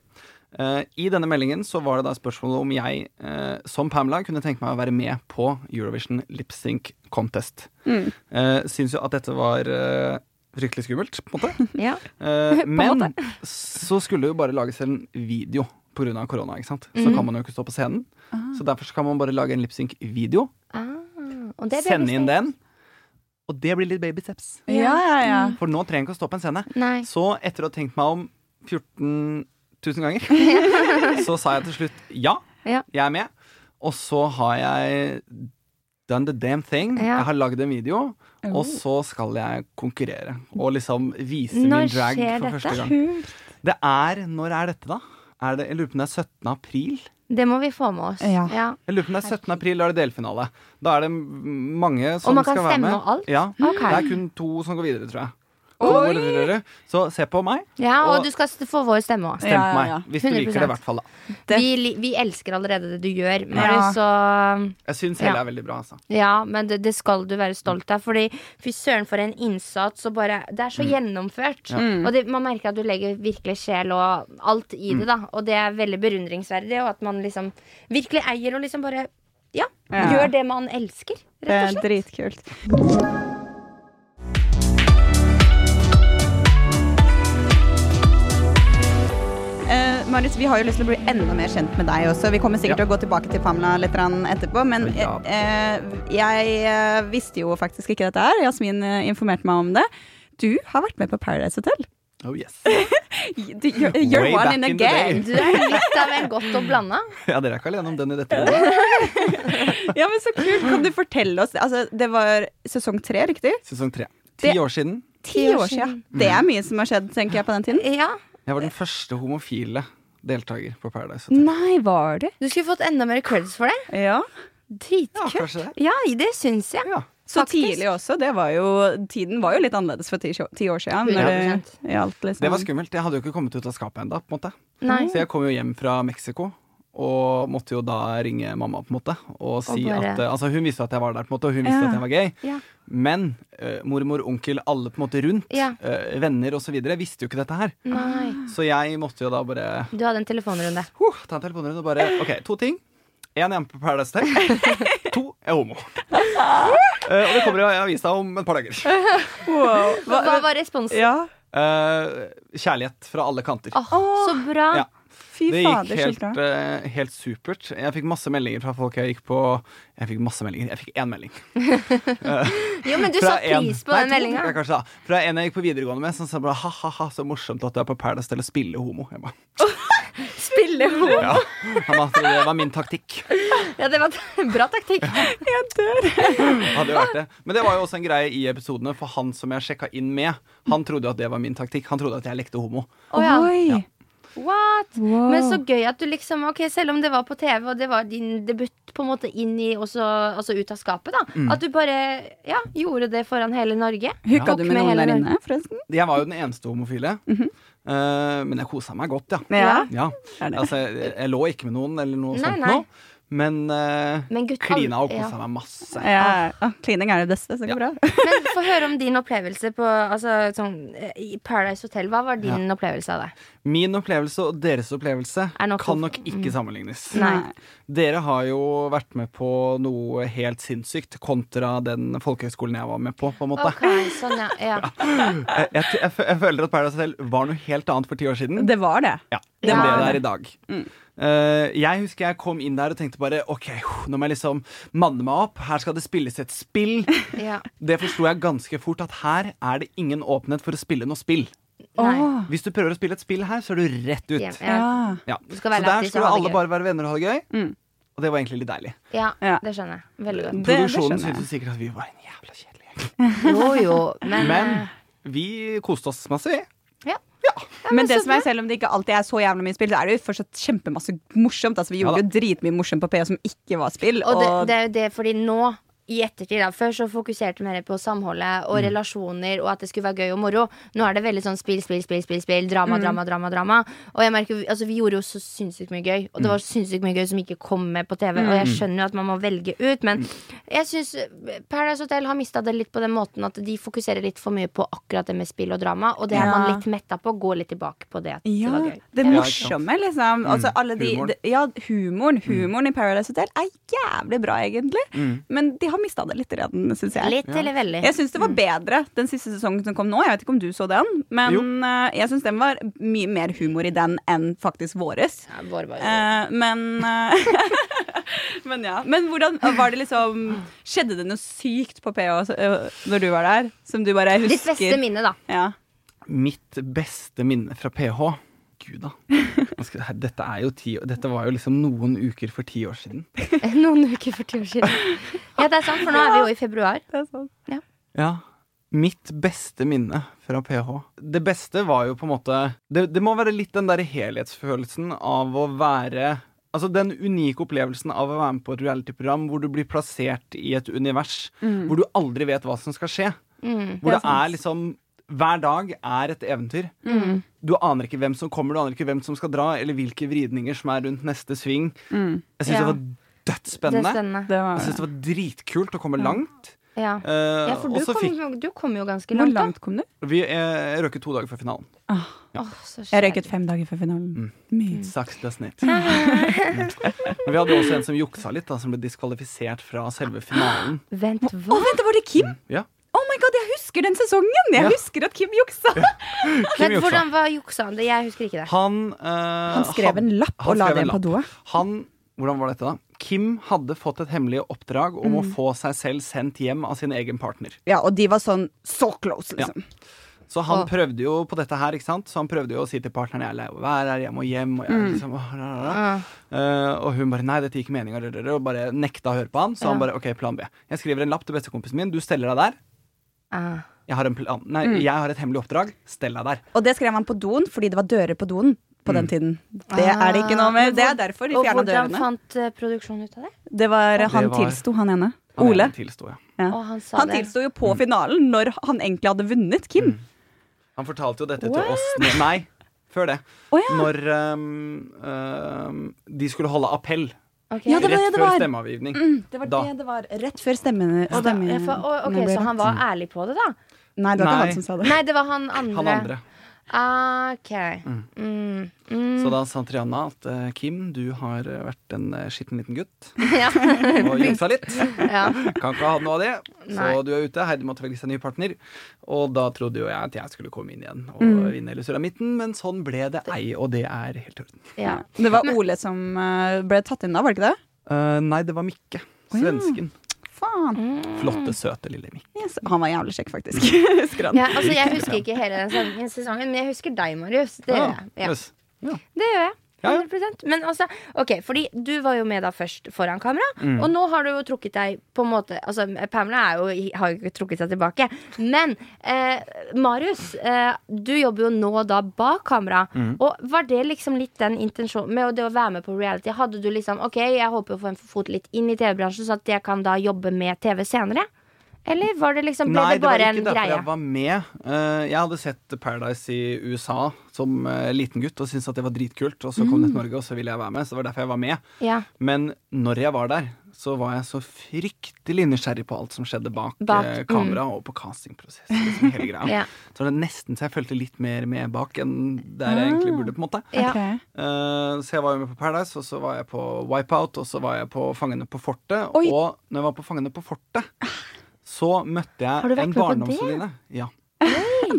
Speaker 4: Eh, I denne meldingen så var det da spørsmålet om jeg eh, som Pamela kunne tenke meg å være med på Eurovision Lip Sync Contest.
Speaker 2: Mm.
Speaker 4: Uh, syns jo at dette var eh, fryktelig skummelt, på en måte.
Speaker 3: ja.
Speaker 4: Eh,
Speaker 3: en
Speaker 4: men så skulle det jo bare lages en video pga. korona. ikke sant?
Speaker 3: Mhm.
Speaker 4: Så kan man jo ikke stå på scenen. Så derfor så kan man bare lage en lipsync-video,
Speaker 3: Ah, og det er
Speaker 4: sende inn
Speaker 3: babysteps.
Speaker 4: den, og det blir litt baby steps.
Speaker 2: Ja, ja, ja.
Speaker 4: For nå trenger jeg ikke å stå på en scene.
Speaker 3: Nei.
Speaker 4: Så etter å ha tenkt meg om 14 000 ganger, så sa jeg til slutt ja,
Speaker 3: Ja.
Speaker 4: jeg er med. Og så har jeg done the damn thing.
Speaker 3: Ja.
Speaker 4: Jeg har lagd en video,
Speaker 2: Oh.
Speaker 4: og så skal jeg konkurrere. Og liksom vise
Speaker 3: Når
Speaker 4: min drag
Speaker 3: skjer
Speaker 4: for
Speaker 3: dette?
Speaker 4: første gang. Det er Når er dette, da? Er det, jeg lurer på om det er 17. april?
Speaker 3: Det må vi få med oss.
Speaker 2: Ja.
Speaker 3: Ja.
Speaker 4: Jeg lurer på om det er 17. april, da er det delfinale. Da er det m- mange som
Speaker 3: man kan
Speaker 4: skal være
Speaker 3: stemme
Speaker 4: med.
Speaker 3: og alt?
Speaker 4: Ja.
Speaker 3: Ok.
Speaker 4: Det er kun to som går videre, tror jeg. To går videre. Så se på meg.
Speaker 3: Ja, og
Speaker 4: Og-
Speaker 3: du skal få vår stemme òg.
Speaker 4: Stem
Speaker 2: Ja, ja,
Speaker 4: på meg.
Speaker 2: ja.
Speaker 4: Hvis du liker det, i
Speaker 3: 100%.
Speaker 4: hvert fall. da
Speaker 2: Det-
Speaker 3: Vi, li- vi elsker allerede det du gjør,
Speaker 2: Ja.
Speaker 3: Marius, så
Speaker 4: Jeg syns hele
Speaker 3: Ja.
Speaker 4: er veldig bra. Altså.
Speaker 3: Ja, men det, det skal du være stolt av. Fordi fy søren for en innsats. Og bare, det er så gjennomført. Og det, man merker at du legger virkelig sjel og alt i det. da Og det er veldig beundringsverdig. Og at man liksom virkelig eier og liksom bare ja,
Speaker 2: Ja.
Speaker 3: gjør det man elsker.
Speaker 2: Det er
Speaker 3: Rett og slett.
Speaker 2: Eh, dritkult. Eh, Marius, vi har jo lyst til å bli enda mer kjent med deg også. Vi kommer sikkert
Speaker 4: Ja.
Speaker 2: til å gå tilbake til Pamela litt grann etterpå. Men eh,
Speaker 4: Ja.
Speaker 2: eh, jeg eh, visste jo faktisk ikke dette her. Jasmin eh, informerte meg om det. Du har vært med på Paradise Hotel.
Speaker 4: Oh yes.
Speaker 2: Du- You're, you're
Speaker 4: Way
Speaker 2: one
Speaker 4: back
Speaker 2: in a
Speaker 4: in the
Speaker 2: gang.
Speaker 4: day.
Speaker 3: Du er litt av en godt og blanda.
Speaker 4: ja, dere er ikke alene om den i dette rommet.
Speaker 2: Ja, men Så kult. Kan du fortelle oss altså, Det var sesong tre, riktig?
Speaker 4: Sesong tre. Ti
Speaker 2: Det-
Speaker 4: år siden.
Speaker 2: Ti år siden. Det er mye som har skjedd, tenker jeg, på den tiden.
Speaker 3: Ja.
Speaker 4: Jeg var den første homofile deltaker på Paradise Hotel.
Speaker 2: Nei, var du?
Speaker 3: Du skulle fått enda mer creds for det.
Speaker 2: Ja.
Speaker 4: Ja,
Speaker 3: Dritkult.
Speaker 4: kanskje det.
Speaker 3: Ja, det syns jeg.
Speaker 4: Ja.
Speaker 2: Så
Speaker 3: Faktisk.
Speaker 2: tidlig også. Det var jo, tiden var jo litt annerledes for ti, ti år siden. Når det, gjaldt, liksom.
Speaker 4: Det var skummelt. Jeg hadde jo ikke kommet ut av skapet ennå. Så
Speaker 3: Nei.
Speaker 2: Mm.
Speaker 4: jeg kom jo hjem fra Mexico. Og måtte jo da ringe mamma på en måte og si
Speaker 3: bare-
Speaker 4: at eh, Altså Hun visste at jeg var der, på en måte og hun visste
Speaker 2: Ja.
Speaker 4: at jeg var gay.
Speaker 3: Ja.
Speaker 4: Men eh, mormor, onkel, alle på en måte rundt,
Speaker 3: Ja.
Speaker 4: eh, venner osv., visste jo ikke dette her.
Speaker 2: Mm.
Speaker 3: Nei.
Speaker 4: Så jeg måtte jo da bare
Speaker 3: Du hadde en telefonrunde.
Speaker 4: huh, ta en telefonrunde og bare OK, to ting. Én, jeg er med på Paradise Hotel. to, jeg er homo. Eh, og det kommer jo i avisa om et par dager.
Speaker 2: wow.
Speaker 3: Hva, hva var responsen?
Speaker 2: Ja,
Speaker 4: Eh, kjærlighet fra alle kanter.
Speaker 3: Åh, så bra.
Speaker 4: Ja.
Speaker 2: fy
Speaker 4: Det gikk
Speaker 2: fader,
Speaker 4: helt,
Speaker 2: skilta.
Speaker 4: eh, helt supert. Jeg fikk masse meldinger fra folk jeg gikk på Jeg fikk masse meldinger. Jeg fikk én melding.
Speaker 3: Jo, men du
Speaker 4: Fra
Speaker 3: satte pris
Speaker 4: en-
Speaker 3: på den
Speaker 4: Nei, to fikk
Speaker 3: meldinga.
Speaker 4: jeg kanskje da. Fra en jeg gikk på videregående med, som sa bare ha-ha-ha, så morsomt at du er på Paradise Hotel og spiller homo. Jeg bare,
Speaker 3: Spille homo.
Speaker 4: ja. Han bare, det var min taktikk.
Speaker 3: Ja, det var en bra taktikk.
Speaker 2: Jeg dør.
Speaker 4: Hadde jo vært det. Men det var jo også en greie i episodene, for han som jeg sjekka inn med, han trodde jo at det var min taktikk. Han trodde at jeg lekte homo.
Speaker 3: Å ja.
Speaker 2: Oi.
Speaker 3: What?
Speaker 2: Wow.
Speaker 3: Men så gøy at du liksom Ok, selv om det var på TV, og det var din debut på en måte inn i også, Altså ut av skapet, da.
Speaker 4: Mm.
Speaker 3: At du bare ja, gjorde det foran hele Norge.
Speaker 2: Hooka
Speaker 4: Ja.
Speaker 2: du med
Speaker 3: Og
Speaker 2: noen der
Speaker 3: hele den-
Speaker 2: inne, forresten?
Speaker 4: Jeg var jo den eneste homofile, eh, men jeg kosa meg godt, ja.
Speaker 2: Mhm. Ja.
Speaker 4: Ja,
Speaker 2: Er det?
Speaker 4: altså jeg, jeg lå ikke med noen eller noe
Speaker 3: Nei,
Speaker 4: sånt
Speaker 3: nei.
Speaker 4: nå. Men, eh,
Speaker 3: Men gutt-
Speaker 4: klina og kosa
Speaker 3: ja.
Speaker 4: meg masse.
Speaker 2: Ja. Ah, klining er det beste, så det går
Speaker 4: Ja.
Speaker 2: bra.
Speaker 3: Men få høre om din opplevelse på altså, sånn, eh, i Paradise Hotel. Hva var din opplevelse av det?
Speaker 4: Min opplevelse og deres opplevelse
Speaker 3: Er nok- Mm.
Speaker 4: kan nok ikke sammenlignes.
Speaker 3: Nei.
Speaker 4: Dere har jo vært med på noe helt sinnssykt kontra den folkehøgskolen jeg var med på. på en måte.
Speaker 3: Ok, sånn, ja, ja.
Speaker 4: Jeg, jeg, jeg, fø- jeg føler at Paradise Hotel var noe helt annet for ti år siden.
Speaker 2: Det var det.
Speaker 4: Ja,
Speaker 3: det
Speaker 4: det
Speaker 3: var
Speaker 4: ble
Speaker 3: det. Mm.
Speaker 4: det er i dag. Eh, jeg husker jeg kom inn der og tenkte bare OK, nå må jeg liksom manne meg opp. Her skal det spilles et spill.
Speaker 3: ja.
Speaker 4: Det forsto jeg ganske fort, at her er det ingen åpenhet for å spille noe spill.
Speaker 3: Nei.
Speaker 2: Åh,
Speaker 4: Hvis du prøver å spille et spill her, så er du rett ut.
Speaker 3: Ja, ja.
Speaker 2: ja.
Speaker 4: Ja.
Speaker 3: Du
Speaker 4: Så
Speaker 3: skal være
Speaker 4: der
Speaker 3: lættis og
Speaker 4: skulle
Speaker 3: ha det
Speaker 4: alle
Speaker 3: gøy.
Speaker 4: bare være venner og ha det gøy.
Speaker 2: Mm.
Speaker 4: Og det var egentlig litt deilig.
Speaker 3: Ja,
Speaker 2: Ja.
Speaker 3: det skjønner jeg. Veldig godt.
Speaker 2: Det- det
Speaker 4: Produksjonen
Speaker 2: skjønner jeg.
Speaker 4: syntes sikkert at vi var en jævla kjedelig gjeng.
Speaker 3: Jo, jo, men,
Speaker 4: Men
Speaker 3: eh,
Speaker 4: vi koste oss masse, vi.
Speaker 3: ja.
Speaker 2: Men det som er, selv om det ikke alltid er så jævla mye spill, så er det jo fortsatt kjempemasse morsomt. Altså, vi
Speaker 4: Ja
Speaker 2: gjorde jo dritmye morsomt på PA som ikke var spill.
Speaker 3: Og det, det er jo det fordi nå i ettertid da, Før så fokuserte vi mer på samholdet
Speaker 2: Mm.
Speaker 3: og relasjoner og at det skulle være gøy og moro. Nå er det veldig sånn spill, spill, spill, spill, spill
Speaker 2: Mm.
Speaker 3: drama, drama, drama. drama Og jeg merker, altså Vi gjorde jo så sinnssykt mye gøy,
Speaker 2: Mm.
Speaker 3: og det var sinnssykt mye gøy som ikke kom med på TV. Og jeg skjønner jo at man må velge ut, men
Speaker 2: Mm.
Speaker 3: jeg syns Paradise Hotel har mista det litt på den måten at de fokuserer litt for mye på akkurat det med spill og drama, og det er man
Speaker 2: Ja.
Speaker 3: litt metta på. Gå litt tilbake på det at det
Speaker 2: ja,
Speaker 3: var gøy.
Speaker 2: det
Speaker 4: Ja, ikke sant. Mm.
Speaker 2: morsomme, liksom. Altså, alle de,
Speaker 4: humoren. Mm.
Speaker 2: de- ja, humoren. Humoren i Paradise Hotel er jævlig bra, egentlig.
Speaker 4: Mm.
Speaker 2: Men de har mista det litt redan, syns jeg.
Speaker 3: Litt eller veldig.
Speaker 2: Jeg syns det
Speaker 4: Mm.
Speaker 2: var bedre den siste sesongen som kom nå. Jeg vet ikke om du så den, men
Speaker 4: Jo.
Speaker 2: eh, jeg syns den var mye mer humor i den enn faktisk våres.
Speaker 3: Ja, vår var jo-
Speaker 2: Eh, men eh, Men ja. Men hvordan var det liksom Skjedde det noe sykt på PH så- eh, når du var der? Som du bare
Speaker 3: Ditt beste
Speaker 2: husker?
Speaker 3: minne, da.
Speaker 2: Ja.
Speaker 4: Mitt beste minne fra PH Gud, da. Nå skal- her- Dette, er jo ti, dette var jo liksom noen uker for ti år siden.
Speaker 3: Noen uker for ti år siden. Ja, det er sant, for nå er vi jo i februar.
Speaker 2: Det er sånn.
Speaker 4: Ja. Mitt beste minne fra PH. Det beste var jo på en måte Det, det må være litt den der helhetsfølelsen av å være Altså Den unike opplevelsen av å være med på et realityprogram hvor du blir plassert i et univers
Speaker 3: Mm.
Speaker 4: hvor du aldri vet hva som skal skje. Hvor det er liksom Hver dag er et eventyr.
Speaker 3: Mm.
Speaker 4: Du aner ikke hvem som kommer, du aner ikke hvem som skal dra, eller hvilke vridninger som er rundt neste sving. Jeg syns
Speaker 3: Ja.
Speaker 4: det var
Speaker 3: Det er
Speaker 4: dødsspennende.
Speaker 3: spennende.
Speaker 2: Det var,
Speaker 4: Mm. Jeg syns det var dritkult å komme langt.
Speaker 3: Ja.
Speaker 4: Eh,
Speaker 3: ja, for
Speaker 4: og
Speaker 3: du
Speaker 4: så
Speaker 3: kom,
Speaker 4: fikk
Speaker 3: jo- du kom jo ganske
Speaker 2: hvor
Speaker 3: langt, da.
Speaker 2: langt kom du?
Speaker 4: vi eh, røket to dager før finalen.
Speaker 3: Åh, så
Speaker 2: Jeg
Speaker 3: kjedelig.
Speaker 2: røyket fem dager før
Speaker 4: Mm.
Speaker 2: finalen. Mye.
Speaker 4: Saks det er snitt. Mm. Men vi hadde også en som juksa litt, da, som ble diskvalifisert fra selve finalen.
Speaker 3: Vent,
Speaker 2: Å,
Speaker 3: hva?
Speaker 2: vent, det var det Kim?
Speaker 4: Ja.
Speaker 2: Oh my god, jeg husker den sesongen! Jeg
Speaker 4: Mm. Ja.
Speaker 2: husker at Kim juksa!
Speaker 4: Kim
Speaker 3: Vent,
Speaker 4: juksa.
Speaker 3: hvordan var juksa han? Det- Jeg husker ikke det.
Speaker 4: Han, eh,
Speaker 2: Han skrev en lapp
Speaker 4: han
Speaker 2: og la
Speaker 4: skrev
Speaker 2: den
Speaker 4: en
Speaker 2: på
Speaker 4: lapp.
Speaker 2: doa.
Speaker 4: Han, hvordan var dette da? Kim hadde fått et hemmelig oppdrag om
Speaker 2: Mm.
Speaker 4: å få seg selv sendt hjem av sin egen partner.
Speaker 2: Ja, og de var sånn so close, liksom.
Speaker 4: Så han
Speaker 3: Åh.
Speaker 4: prøvde jo på dette her, ikke sant? Så han prøvde jo å si til partneren Jeg er lei av å være her, jeg må hjem. Og, jeg,
Speaker 2: Mm.
Speaker 4: liksom, åh, ra, ra, ra.
Speaker 3: Ah.
Speaker 4: Eh, og hun bare nei, dette gikk meninga, og bare nekta å høre på han. Så han bare OK, plan B. Jeg skriver en lapp til bestekompisen min, du steller deg der.
Speaker 3: Ah.
Speaker 4: Jeg har, en plan. Nei,
Speaker 2: Mm.
Speaker 4: jeg har et hemmelig oppdrag, stell deg der.
Speaker 2: Og det skrev han på doen fordi det var dører på doen på
Speaker 4: Mm.
Speaker 2: den tiden. Det er det ikke noe med. Det er derfor de
Speaker 3: Og
Speaker 2: fjerna
Speaker 3: hvordan
Speaker 2: dørene.
Speaker 3: fant eh, produksjonen ut av det?
Speaker 2: Det var han
Speaker 4: var-
Speaker 2: tilsto, han ene.
Speaker 4: Han
Speaker 2: Ole.
Speaker 4: ene Mm. tilsto, ja.
Speaker 2: Ja.
Speaker 3: Og han sa
Speaker 2: Han
Speaker 3: det.
Speaker 2: tilsto jo på finalen når han egentlig hadde vunnet Kim.
Speaker 4: Mm. Han fortalte jo dette
Speaker 3: What?
Speaker 4: til oss når, Nei, før det.
Speaker 2: Å ja.
Speaker 4: Når ehm, ehm, de skulle holde appell
Speaker 3: Ok.
Speaker 2: Ja, det var
Speaker 4: rett
Speaker 2: det det
Speaker 4: før
Speaker 2: var. Mm.
Speaker 4: stemmeavgivning.
Speaker 2: Det var
Speaker 4: Da.
Speaker 2: det det var. Rett før stemmene
Speaker 3: Og da-
Speaker 2: stemmene
Speaker 3: ja, for- og- ok,
Speaker 2: Mm. ble
Speaker 3: Så
Speaker 2: rett.
Speaker 3: han var ærlig på det, da?
Speaker 2: Nei, det var ikke
Speaker 4: Nei.
Speaker 2: han som sa det.
Speaker 3: Nei, det var han andre.
Speaker 4: Han andre.
Speaker 3: Ah, ok. Mm. Mm.
Speaker 4: Så da sa Triana at eh, Kim, du har eh, vært en eh, skitten liten gutt
Speaker 3: Ja.
Speaker 4: og juksa litt.
Speaker 3: ja.
Speaker 4: Kan ikke ha hatt noe av det. Så
Speaker 3: Nei.
Speaker 4: du er ute. Heidi måtte velge seg ny partner. Og da trodde jo jeg at jeg skulle komme inn igjen og
Speaker 3: Mm.
Speaker 4: vinne eller surre midten, men sånn ble det ei, og det er helt orden.
Speaker 3: ja.
Speaker 2: Det var Ole som eh, ble tatt inn da, var det ikke det?
Speaker 4: Eh, nei, det var Mikke. Svensken.
Speaker 2: Faen.
Speaker 3: Mm.
Speaker 4: Flotte, søte lille Mikke.
Speaker 2: Yes. Han var jævlig kjekk, faktisk. Husker han.
Speaker 3: Ja, altså Jeg husker ikke hele den sesongen- sesongen, men jeg husker deg, Marius. Det gjør jeg. Ja,
Speaker 4: Yes. Ja.
Speaker 3: det gjør jeg.
Speaker 4: Ja, ja.
Speaker 3: 100%. Men altså, ok, fordi du var jo med da først foran kamera,
Speaker 4: Mm.
Speaker 3: og nå har du jo trukket deg på en måte Altså, Pamela er jo, har jo ikke trukket seg tilbake. Men eh, Marius, eh, du jobber jo nå da bak kamera.
Speaker 4: Mm.
Speaker 3: Og var det liksom litt den intensjonen med det å være med på reality? Hadde du liksom OK, jeg håper å få en fot litt inn i TV-bransjen, så at jeg kan da jobbe med TV senere? Eller var det liksom, ble
Speaker 4: Nei,
Speaker 3: det bare
Speaker 4: var ikke
Speaker 3: en
Speaker 4: derfor
Speaker 3: greie?
Speaker 4: jeg var med. Eh, jeg hadde sett Paradise i USA som eh, liten gutt og syntes at det var dritkult. Og så kom
Speaker 3: Mm.
Speaker 4: det til Norge, og så ville jeg være med. Så det var derfor jeg var med.
Speaker 3: Ja.
Speaker 4: Men når jeg var der, så var jeg så fryktelig nysgjerrig på alt som skjedde bak,
Speaker 3: Bak, mm.
Speaker 4: eh, kamera og på castingprosessen. Liksom, hele greia.
Speaker 3: Ja.
Speaker 4: Så var det nesten så jeg følte litt mer med bak enn der jeg
Speaker 3: Ah.
Speaker 4: egentlig burde. på en måte
Speaker 3: Ja.
Speaker 2: Ok.
Speaker 4: Eh, Så jeg var jo med på Paradise, og så var jeg på Wipeout, og så var jeg på Fangene på fortet.
Speaker 2: Oi.
Speaker 4: Og når jeg var på Fangene på fortet, så møtte
Speaker 3: Har du
Speaker 4: jeg
Speaker 3: vært
Speaker 4: en
Speaker 3: med på det?
Speaker 4: barndomsvenninne. Ja.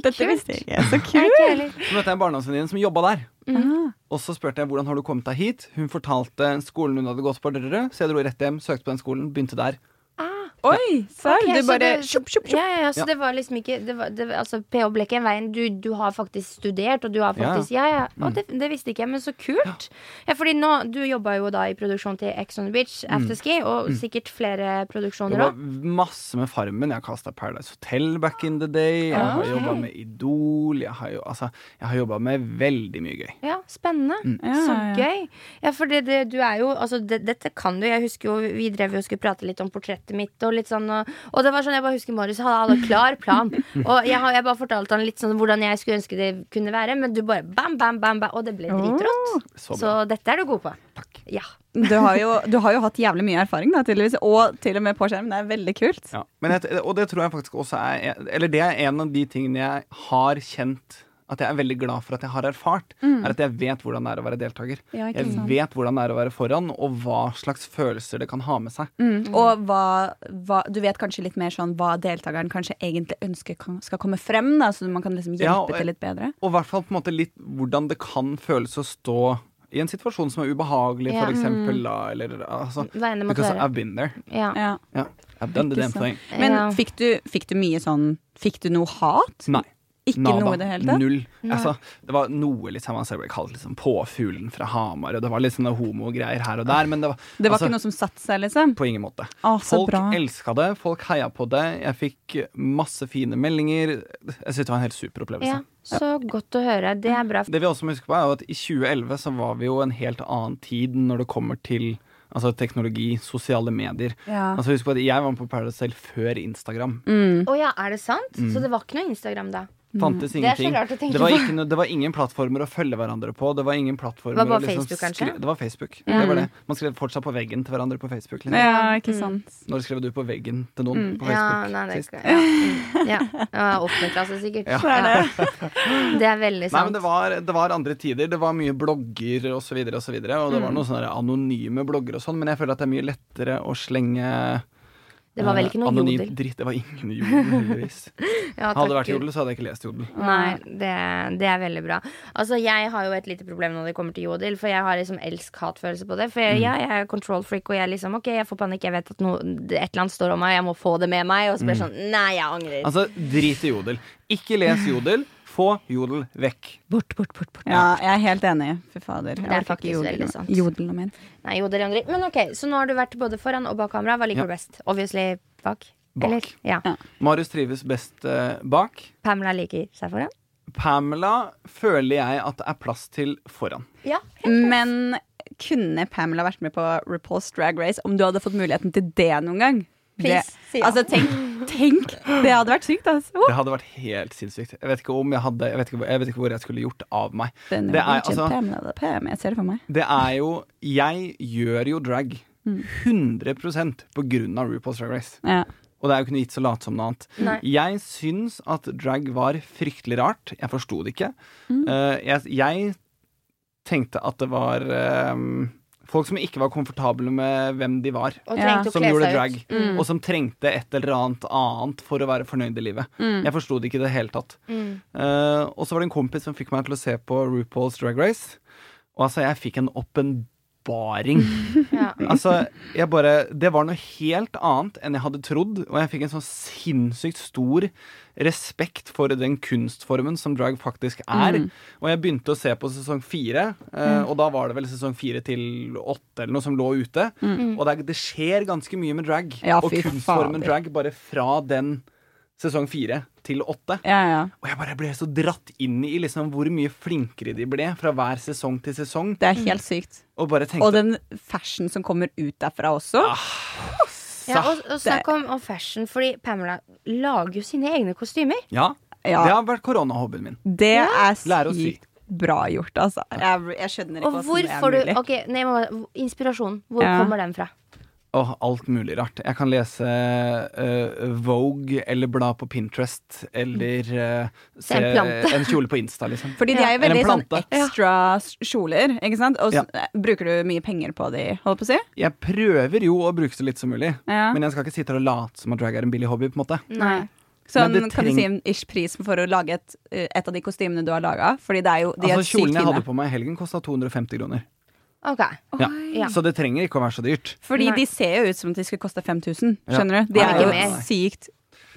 Speaker 2: Dette visste jeg ikke. Så
Speaker 3: Nei,
Speaker 2: kult.
Speaker 3: ikke heller.
Speaker 4: Så møtte jeg en barndomsvenninne som jobba der.
Speaker 3: Ah.
Speaker 4: Og så spurte jeg hvordan har du kommet deg hit. Hun fortalte skolen hun hadde gått på, drrrr, så jeg dro rett hjem, søkte på den skolen, begynte der.
Speaker 3: Ah.
Speaker 2: Oi, serr.
Speaker 3: Ok,
Speaker 2: Du
Speaker 3: så
Speaker 2: bare
Speaker 3: det-
Speaker 2: tjopp, tjopp, tjopp.
Speaker 3: Ja, ja, ja, så
Speaker 4: Ja.
Speaker 3: det var liksom ikke det var, det, var- Altså, PH ble ikke en veien du, du har faktisk studert, og du har
Speaker 4: Ja, Mm. ja.
Speaker 3: faktisk Ja, ja. Å, det, det visste ikke jeg, men så kult. Ja, fordi nå Du jobba jo da i produksjon til Ex on the Beach,
Speaker 4: Mm.
Speaker 3: Afterski, og sikkert flere produksjoner
Speaker 4: Jobba
Speaker 3: òg.
Speaker 4: masse med Farmen. Jeg har kasta Paradise Hotel back in the day. Jeg har
Speaker 3: Ah, Ok.
Speaker 4: jobba med Idol. Jeg har, jo, altså, jeg har jobba med veldig mye gøy.
Speaker 3: Ja, spennende.
Speaker 4: Mm.
Speaker 2: Ja,
Speaker 3: så
Speaker 2: ja.
Speaker 3: gøy. Ja, for det, det, du er jo Altså, det, dette kan du. Jeg husker jo Vi drev jo og skulle prate litt om portrettet mitt og litt sånn. Og, og det var sånn, jeg bare husker Marius hadde hadde en klar plan. Og jeg, har- jeg bare fortalte han litt sånn hvordan jeg skulle ønske det kunne være, men du bare bam, bam, bam, bam og det ble dritrått.
Speaker 4: Så
Speaker 3: Så dette er du god på. Takk. Ja.
Speaker 2: Du har, jo, du har jo hatt jævlig mye erfaring, da, tydeligvis. Og til og med på skjerm. Det er veldig kult.
Speaker 4: Ja, men jeg, og det tror jeg faktisk også er Eller det er en av de tingene jeg har kjent at jeg er veldig glad for at jeg har erfart,
Speaker 3: Mm.
Speaker 4: er at jeg vet hvordan det er å være deltaker.
Speaker 2: Ja, ikke
Speaker 4: jeg
Speaker 2: sant.
Speaker 4: vet hvordan det er å være foran, og hva slags følelser det kan ha med seg.
Speaker 2: Mm. Og hva, hva Du vet kanskje litt mer sånn hva deltakeren kanskje egentlig ønsker kan, skal komme frem, da, så man kan liksom hjelpe
Speaker 4: Ja, og-
Speaker 2: til litt bedre.
Speaker 4: Og i hvert fall på en måte litt hvordan det kan føles å stå i en situasjon som er ubehagelig,
Speaker 3: Ja.
Speaker 4: for eksempel, da, eller altså
Speaker 3: Hva enn det måtte
Speaker 4: Because
Speaker 3: være.
Speaker 4: I've been there.
Speaker 3: Ja.
Speaker 2: Ja.
Speaker 4: Ja. I've done the
Speaker 2: Ikke
Speaker 4: damn
Speaker 2: sant.
Speaker 4: thing.
Speaker 2: Men
Speaker 3: Ja.
Speaker 2: fikk, du, fikk du mye sånn Fikk du noe hat?
Speaker 4: Nei.
Speaker 2: Ikke
Speaker 4: Nada.
Speaker 2: noe i det hele tatt?
Speaker 4: Null. Altså, det var noe liksom, man ser ble kalt liksom, påfuglen fra Hamar, og det var litt sånne homogreier her og der, men det var,
Speaker 2: Det var
Speaker 4: altså,
Speaker 2: ikke noe som satte seg, liksom?
Speaker 4: På ingen måte.
Speaker 2: Å, så
Speaker 4: folk
Speaker 2: bra.
Speaker 4: elska det, folk heia på det. Jeg fikk masse fine meldinger. Jeg syns det var en helt super opplevelse.
Speaker 3: ja. Så godt å høre. Det er bra.
Speaker 4: Det vi også må huske på, er jo at i 2011 så var vi jo en helt annen tid når det kommer til altså, teknologi, sosiale medier.
Speaker 2: Ja.
Speaker 4: Altså, husk på at jeg var med på Paradise selv før Instagram.
Speaker 3: Å ja, er det sant?
Speaker 4: Mm.
Speaker 3: Så det var ikke noe Instagram da?
Speaker 4: Fantes
Speaker 3: Mm. er så
Speaker 4: ingenting.
Speaker 3: rart å tenke
Speaker 4: det, var
Speaker 3: på.
Speaker 4: ikke, noe- det var ingen plattformer å følge hverandre på. Det var ingen plattformer
Speaker 3: Det var bare
Speaker 4: å liksom
Speaker 3: Facebook, kanskje? Mm.
Speaker 4: skri- Det var Facebook. Det var det. Man skrev fortsatt på veggen til hverandre på Facebook. Liksom.
Speaker 2: Ja, ikke sant.
Speaker 4: Når skrev du på veggen til noen på
Speaker 3: Mm. Ja,
Speaker 4: Facebook?
Speaker 3: nei, det er
Speaker 4: sist?
Speaker 3: ikke, ja. Mm. ja. Ja, Åttende klasse, sikkert. Ja. Det er veldig
Speaker 4: Nei,
Speaker 3: sant.
Speaker 4: men det var, det var andre tider. Det var mye blogger og så videre og så videre. Og det
Speaker 3: Mm.
Speaker 4: var noen sånne anonyme blogger og sånn, men jeg føler at det er mye lettere å slenge
Speaker 3: Det var vel ikke noe
Speaker 4: eh, anonym
Speaker 3: jodel?
Speaker 4: dritt. Det var ingen jodel, heldigvis.
Speaker 3: Ja,
Speaker 4: Hadde det
Speaker 3: takk
Speaker 4: vært
Speaker 3: Gud.
Speaker 4: jodel, så hadde jeg ikke lest jodel.
Speaker 3: Nei, det, det er veldig bra. Altså, jeg har jo et lite problem når det kommer til jodel, for jeg har liksom elsk-hat-følelse på det. For
Speaker 4: Mm.
Speaker 3: jeg, ja, jeg er control freak, og jeg er liksom OK, jeg får panikk, jeg vet at noe, et eller annet står om meg, jeg må få det med meg, og så blir det sånn Nei, jeg angrer.
Speaker 4: Mm. Altså, drit i jodel. Ikke les jodel. Få jodel vekk.
Speaker 3: bort, bort, bort, bort.
Speaker 2: Ja, jeg er helt enig. Fy fader. Jeg
Speaker 3: Det er
Speaker 2: orker ikke
Speaker 3: faktisk
Speaker 2: jodel-
Speaker 3: veldig sant.
Speaker 2: Jodelen min.
Speaker 3: Nei, jodel jeg angrer. Men OK, så nå har du vært både foran og bak kamera. Hva liker
Speaker 4: Ja.
Speaker 3: du best? Obviously bak.
Speaker 4: Bak.
Speaker 3: Eller? Ja.
Speaker 2: Ja.
Speaker 4: Marius trives best eh, bak.
Speaker 3: Pamela liker seg foran.
Speaker 4: Pamela føler jeg at det er plass til foran.
Speaker 3: Ja.
Speaker 2: Men kunne Pamela vært med på RuPaul's Drag Race om du hadde fått muligheten til det noen gang? Det,
Speaker 3: Please, si ja.
Speaker 2: altså, tenk, tenk! Det hadde vært sykt, altså.
Speaker 4: Det hadde vært helt sinnssykt. Jeg vet ikke om jeg hadde Jeg vet ikke, hvor- jeg vet ikke hvor jeg skulle gjort av meg.
Speaker 2: Den
Speaker 4: Det er,
Speaker 2: Norwegian
Speaker 4: altså-
Speaker 2: Pamela, det er Pam, jeg ser det for meg.
Speaker 4: Det er jo Jeg gjør jo drag 100 på grunn av RuPaul's Drag Race.
Speaker 2: Ja.
Speaker 4: Og det er jo ikke noe gitt så late som noe annet.
Speaker 3: Nei.
Speaker 4: Jeg syns at drag var fryktelig rart. Jeg forsto det ikke. Eh, jeg, jeg tenkte at det var eh, folk som ikke var komfortable med hvem de var.
Speaker 3: Og
Speaker 2: Ja.
Speaker 3: trengte å
Speaker 4: Som
Speaker 3: kle
Speaker 4: gjorde
Speaker 3: seg
Speaker 4: drag,
Speaker 3: ut. Mm.
Speaker 4: og som trengte et eller annet annet for å være fornøyd i livet.
Speaker 2: Mm.
Speaker 3: Mm.
Speaker 4: Jeg forsto det ikke i det hele tatt. Eh, og så var det en kompis som fikk meg til å se på RuPaul's Drag Race. Og altså, jeg fikk en åpenbaring.
Speaker 3: Ja.
Speaker 2: Mm.
Speaker 4: altså, jeg bare Det var noe helt annet enn jeg hadde trodd, og jeg fikk en sånn sinnssykt stor respekt for den kunstformen som drag faktisk er.
Speaker 2: Mm.
Speaker 4: Og jeg begynte å se på sesong fire, eh, og da var det vel sesong fire til åtte eller noe som lå ute. Og det, er- det skjer ganske mye med drag,
Speaker 2: Mm. Ja,
Speaker 4: og
Speaker 2: fy
Speaker 4: kunstformen
Speaker 2: fader.
Speaker 4: drag bare fra den sesong fire til åtte.
Speaker 2: Ja, ja.
Speaker 4: Og jeg bare ble så dratt inn i liksom hvor mye flinkere de ble fra hver sesong til sesong.
Speaker 3: Mm.
Speaker 2: Det er helt sykt.
Speaker 4: Og bare tenkte «Ah,
Speaker 2: Og den fashion som kommer ut derfra også.
Speaker 3: Ja,
Speaker 4: Sa.
Speaker 3: og, og snakk om, om fashion, fordi Pamela lager jo sine egne kostymer.
Speaker 4: Ja.
Speaker 2: Ja.
Speaker 4: Det har vært koronahobbyen min.
Speaker 2: Det er
Speaker 4: Lære å sy.
Speaker 2: sykt bra gjort, altså. Jeg, jeg skjønner ikke
Speaker 3: Og hvor
Speaker 2: hvordan
Speaker 3: får
Speaker 2: det
Speaker 3: du
Speaker 2: er mulig.
Speaker 3: ok, nei, jeg må bare- Inspirasjonen. Hvor
Speaker 2: Ja.
Speaker 3: kommer den fra?
Speaker 4: Åh, alt mulig rart. Jeg kan lese eh, Vogue eller bla på Pinterest
Speaker 2: Mm.
Speaker 4: eller eh, se
Speaker 3: en plante.
Speaker 4: en kjole på Insta, liksom.
Speaker 2: Fordi de er jo
Speaker 4: Eller
Speaker 2: veldig
Speaker 4: en
Speaker 2: sånn
Speaker 4: plante.
Speaker 2: ekstra s- kjoler, ikke sant? Og s- eh, bruker du mye penger på de, holdt på å si?
Speaker 4: Jeg prøver jo å bruke så litt som mulig,
Speaker 2: Ja.
Speaker 4: men jeg skal ikke sitte her og late som at drag er en billig hobby. på en måte
Speaker 2: Nei.
Speaker 4: Men
Speaker 2: Sånn,
Speaker 4: det
Speaker 2: kan du
Speaker 4: treng-
Speaker 2: si en ish pris for å lage et, eh, et av de kostymene du har laga? Fordi det er jo de er
Speaker 4: Altså
Speaker 2: sykt
Speaker 4: Kjolen jeg hadde
Speaker 2: fine.
Speaker 4: på meg i helgen, kosta 250 kroner.
Speaker 3: Ok.
Speaker 4: Ja.
Speaker 3: Ja.
Speaker 4: Så det trenger ikke å være så dyrt.
Speaker 2: Fordi
Speaker 3: Nei.
Speaker 2: de ser jo ut som de skulle koste 5000,
Speaker 4: Ja.
Speaker 2: skjønner du? De
Speaker 3: Nei,
Speaker 2: er
Speaker 3: ikke
Speaker 2: jo
Speaker 3: mer.
Speaker 2: sykt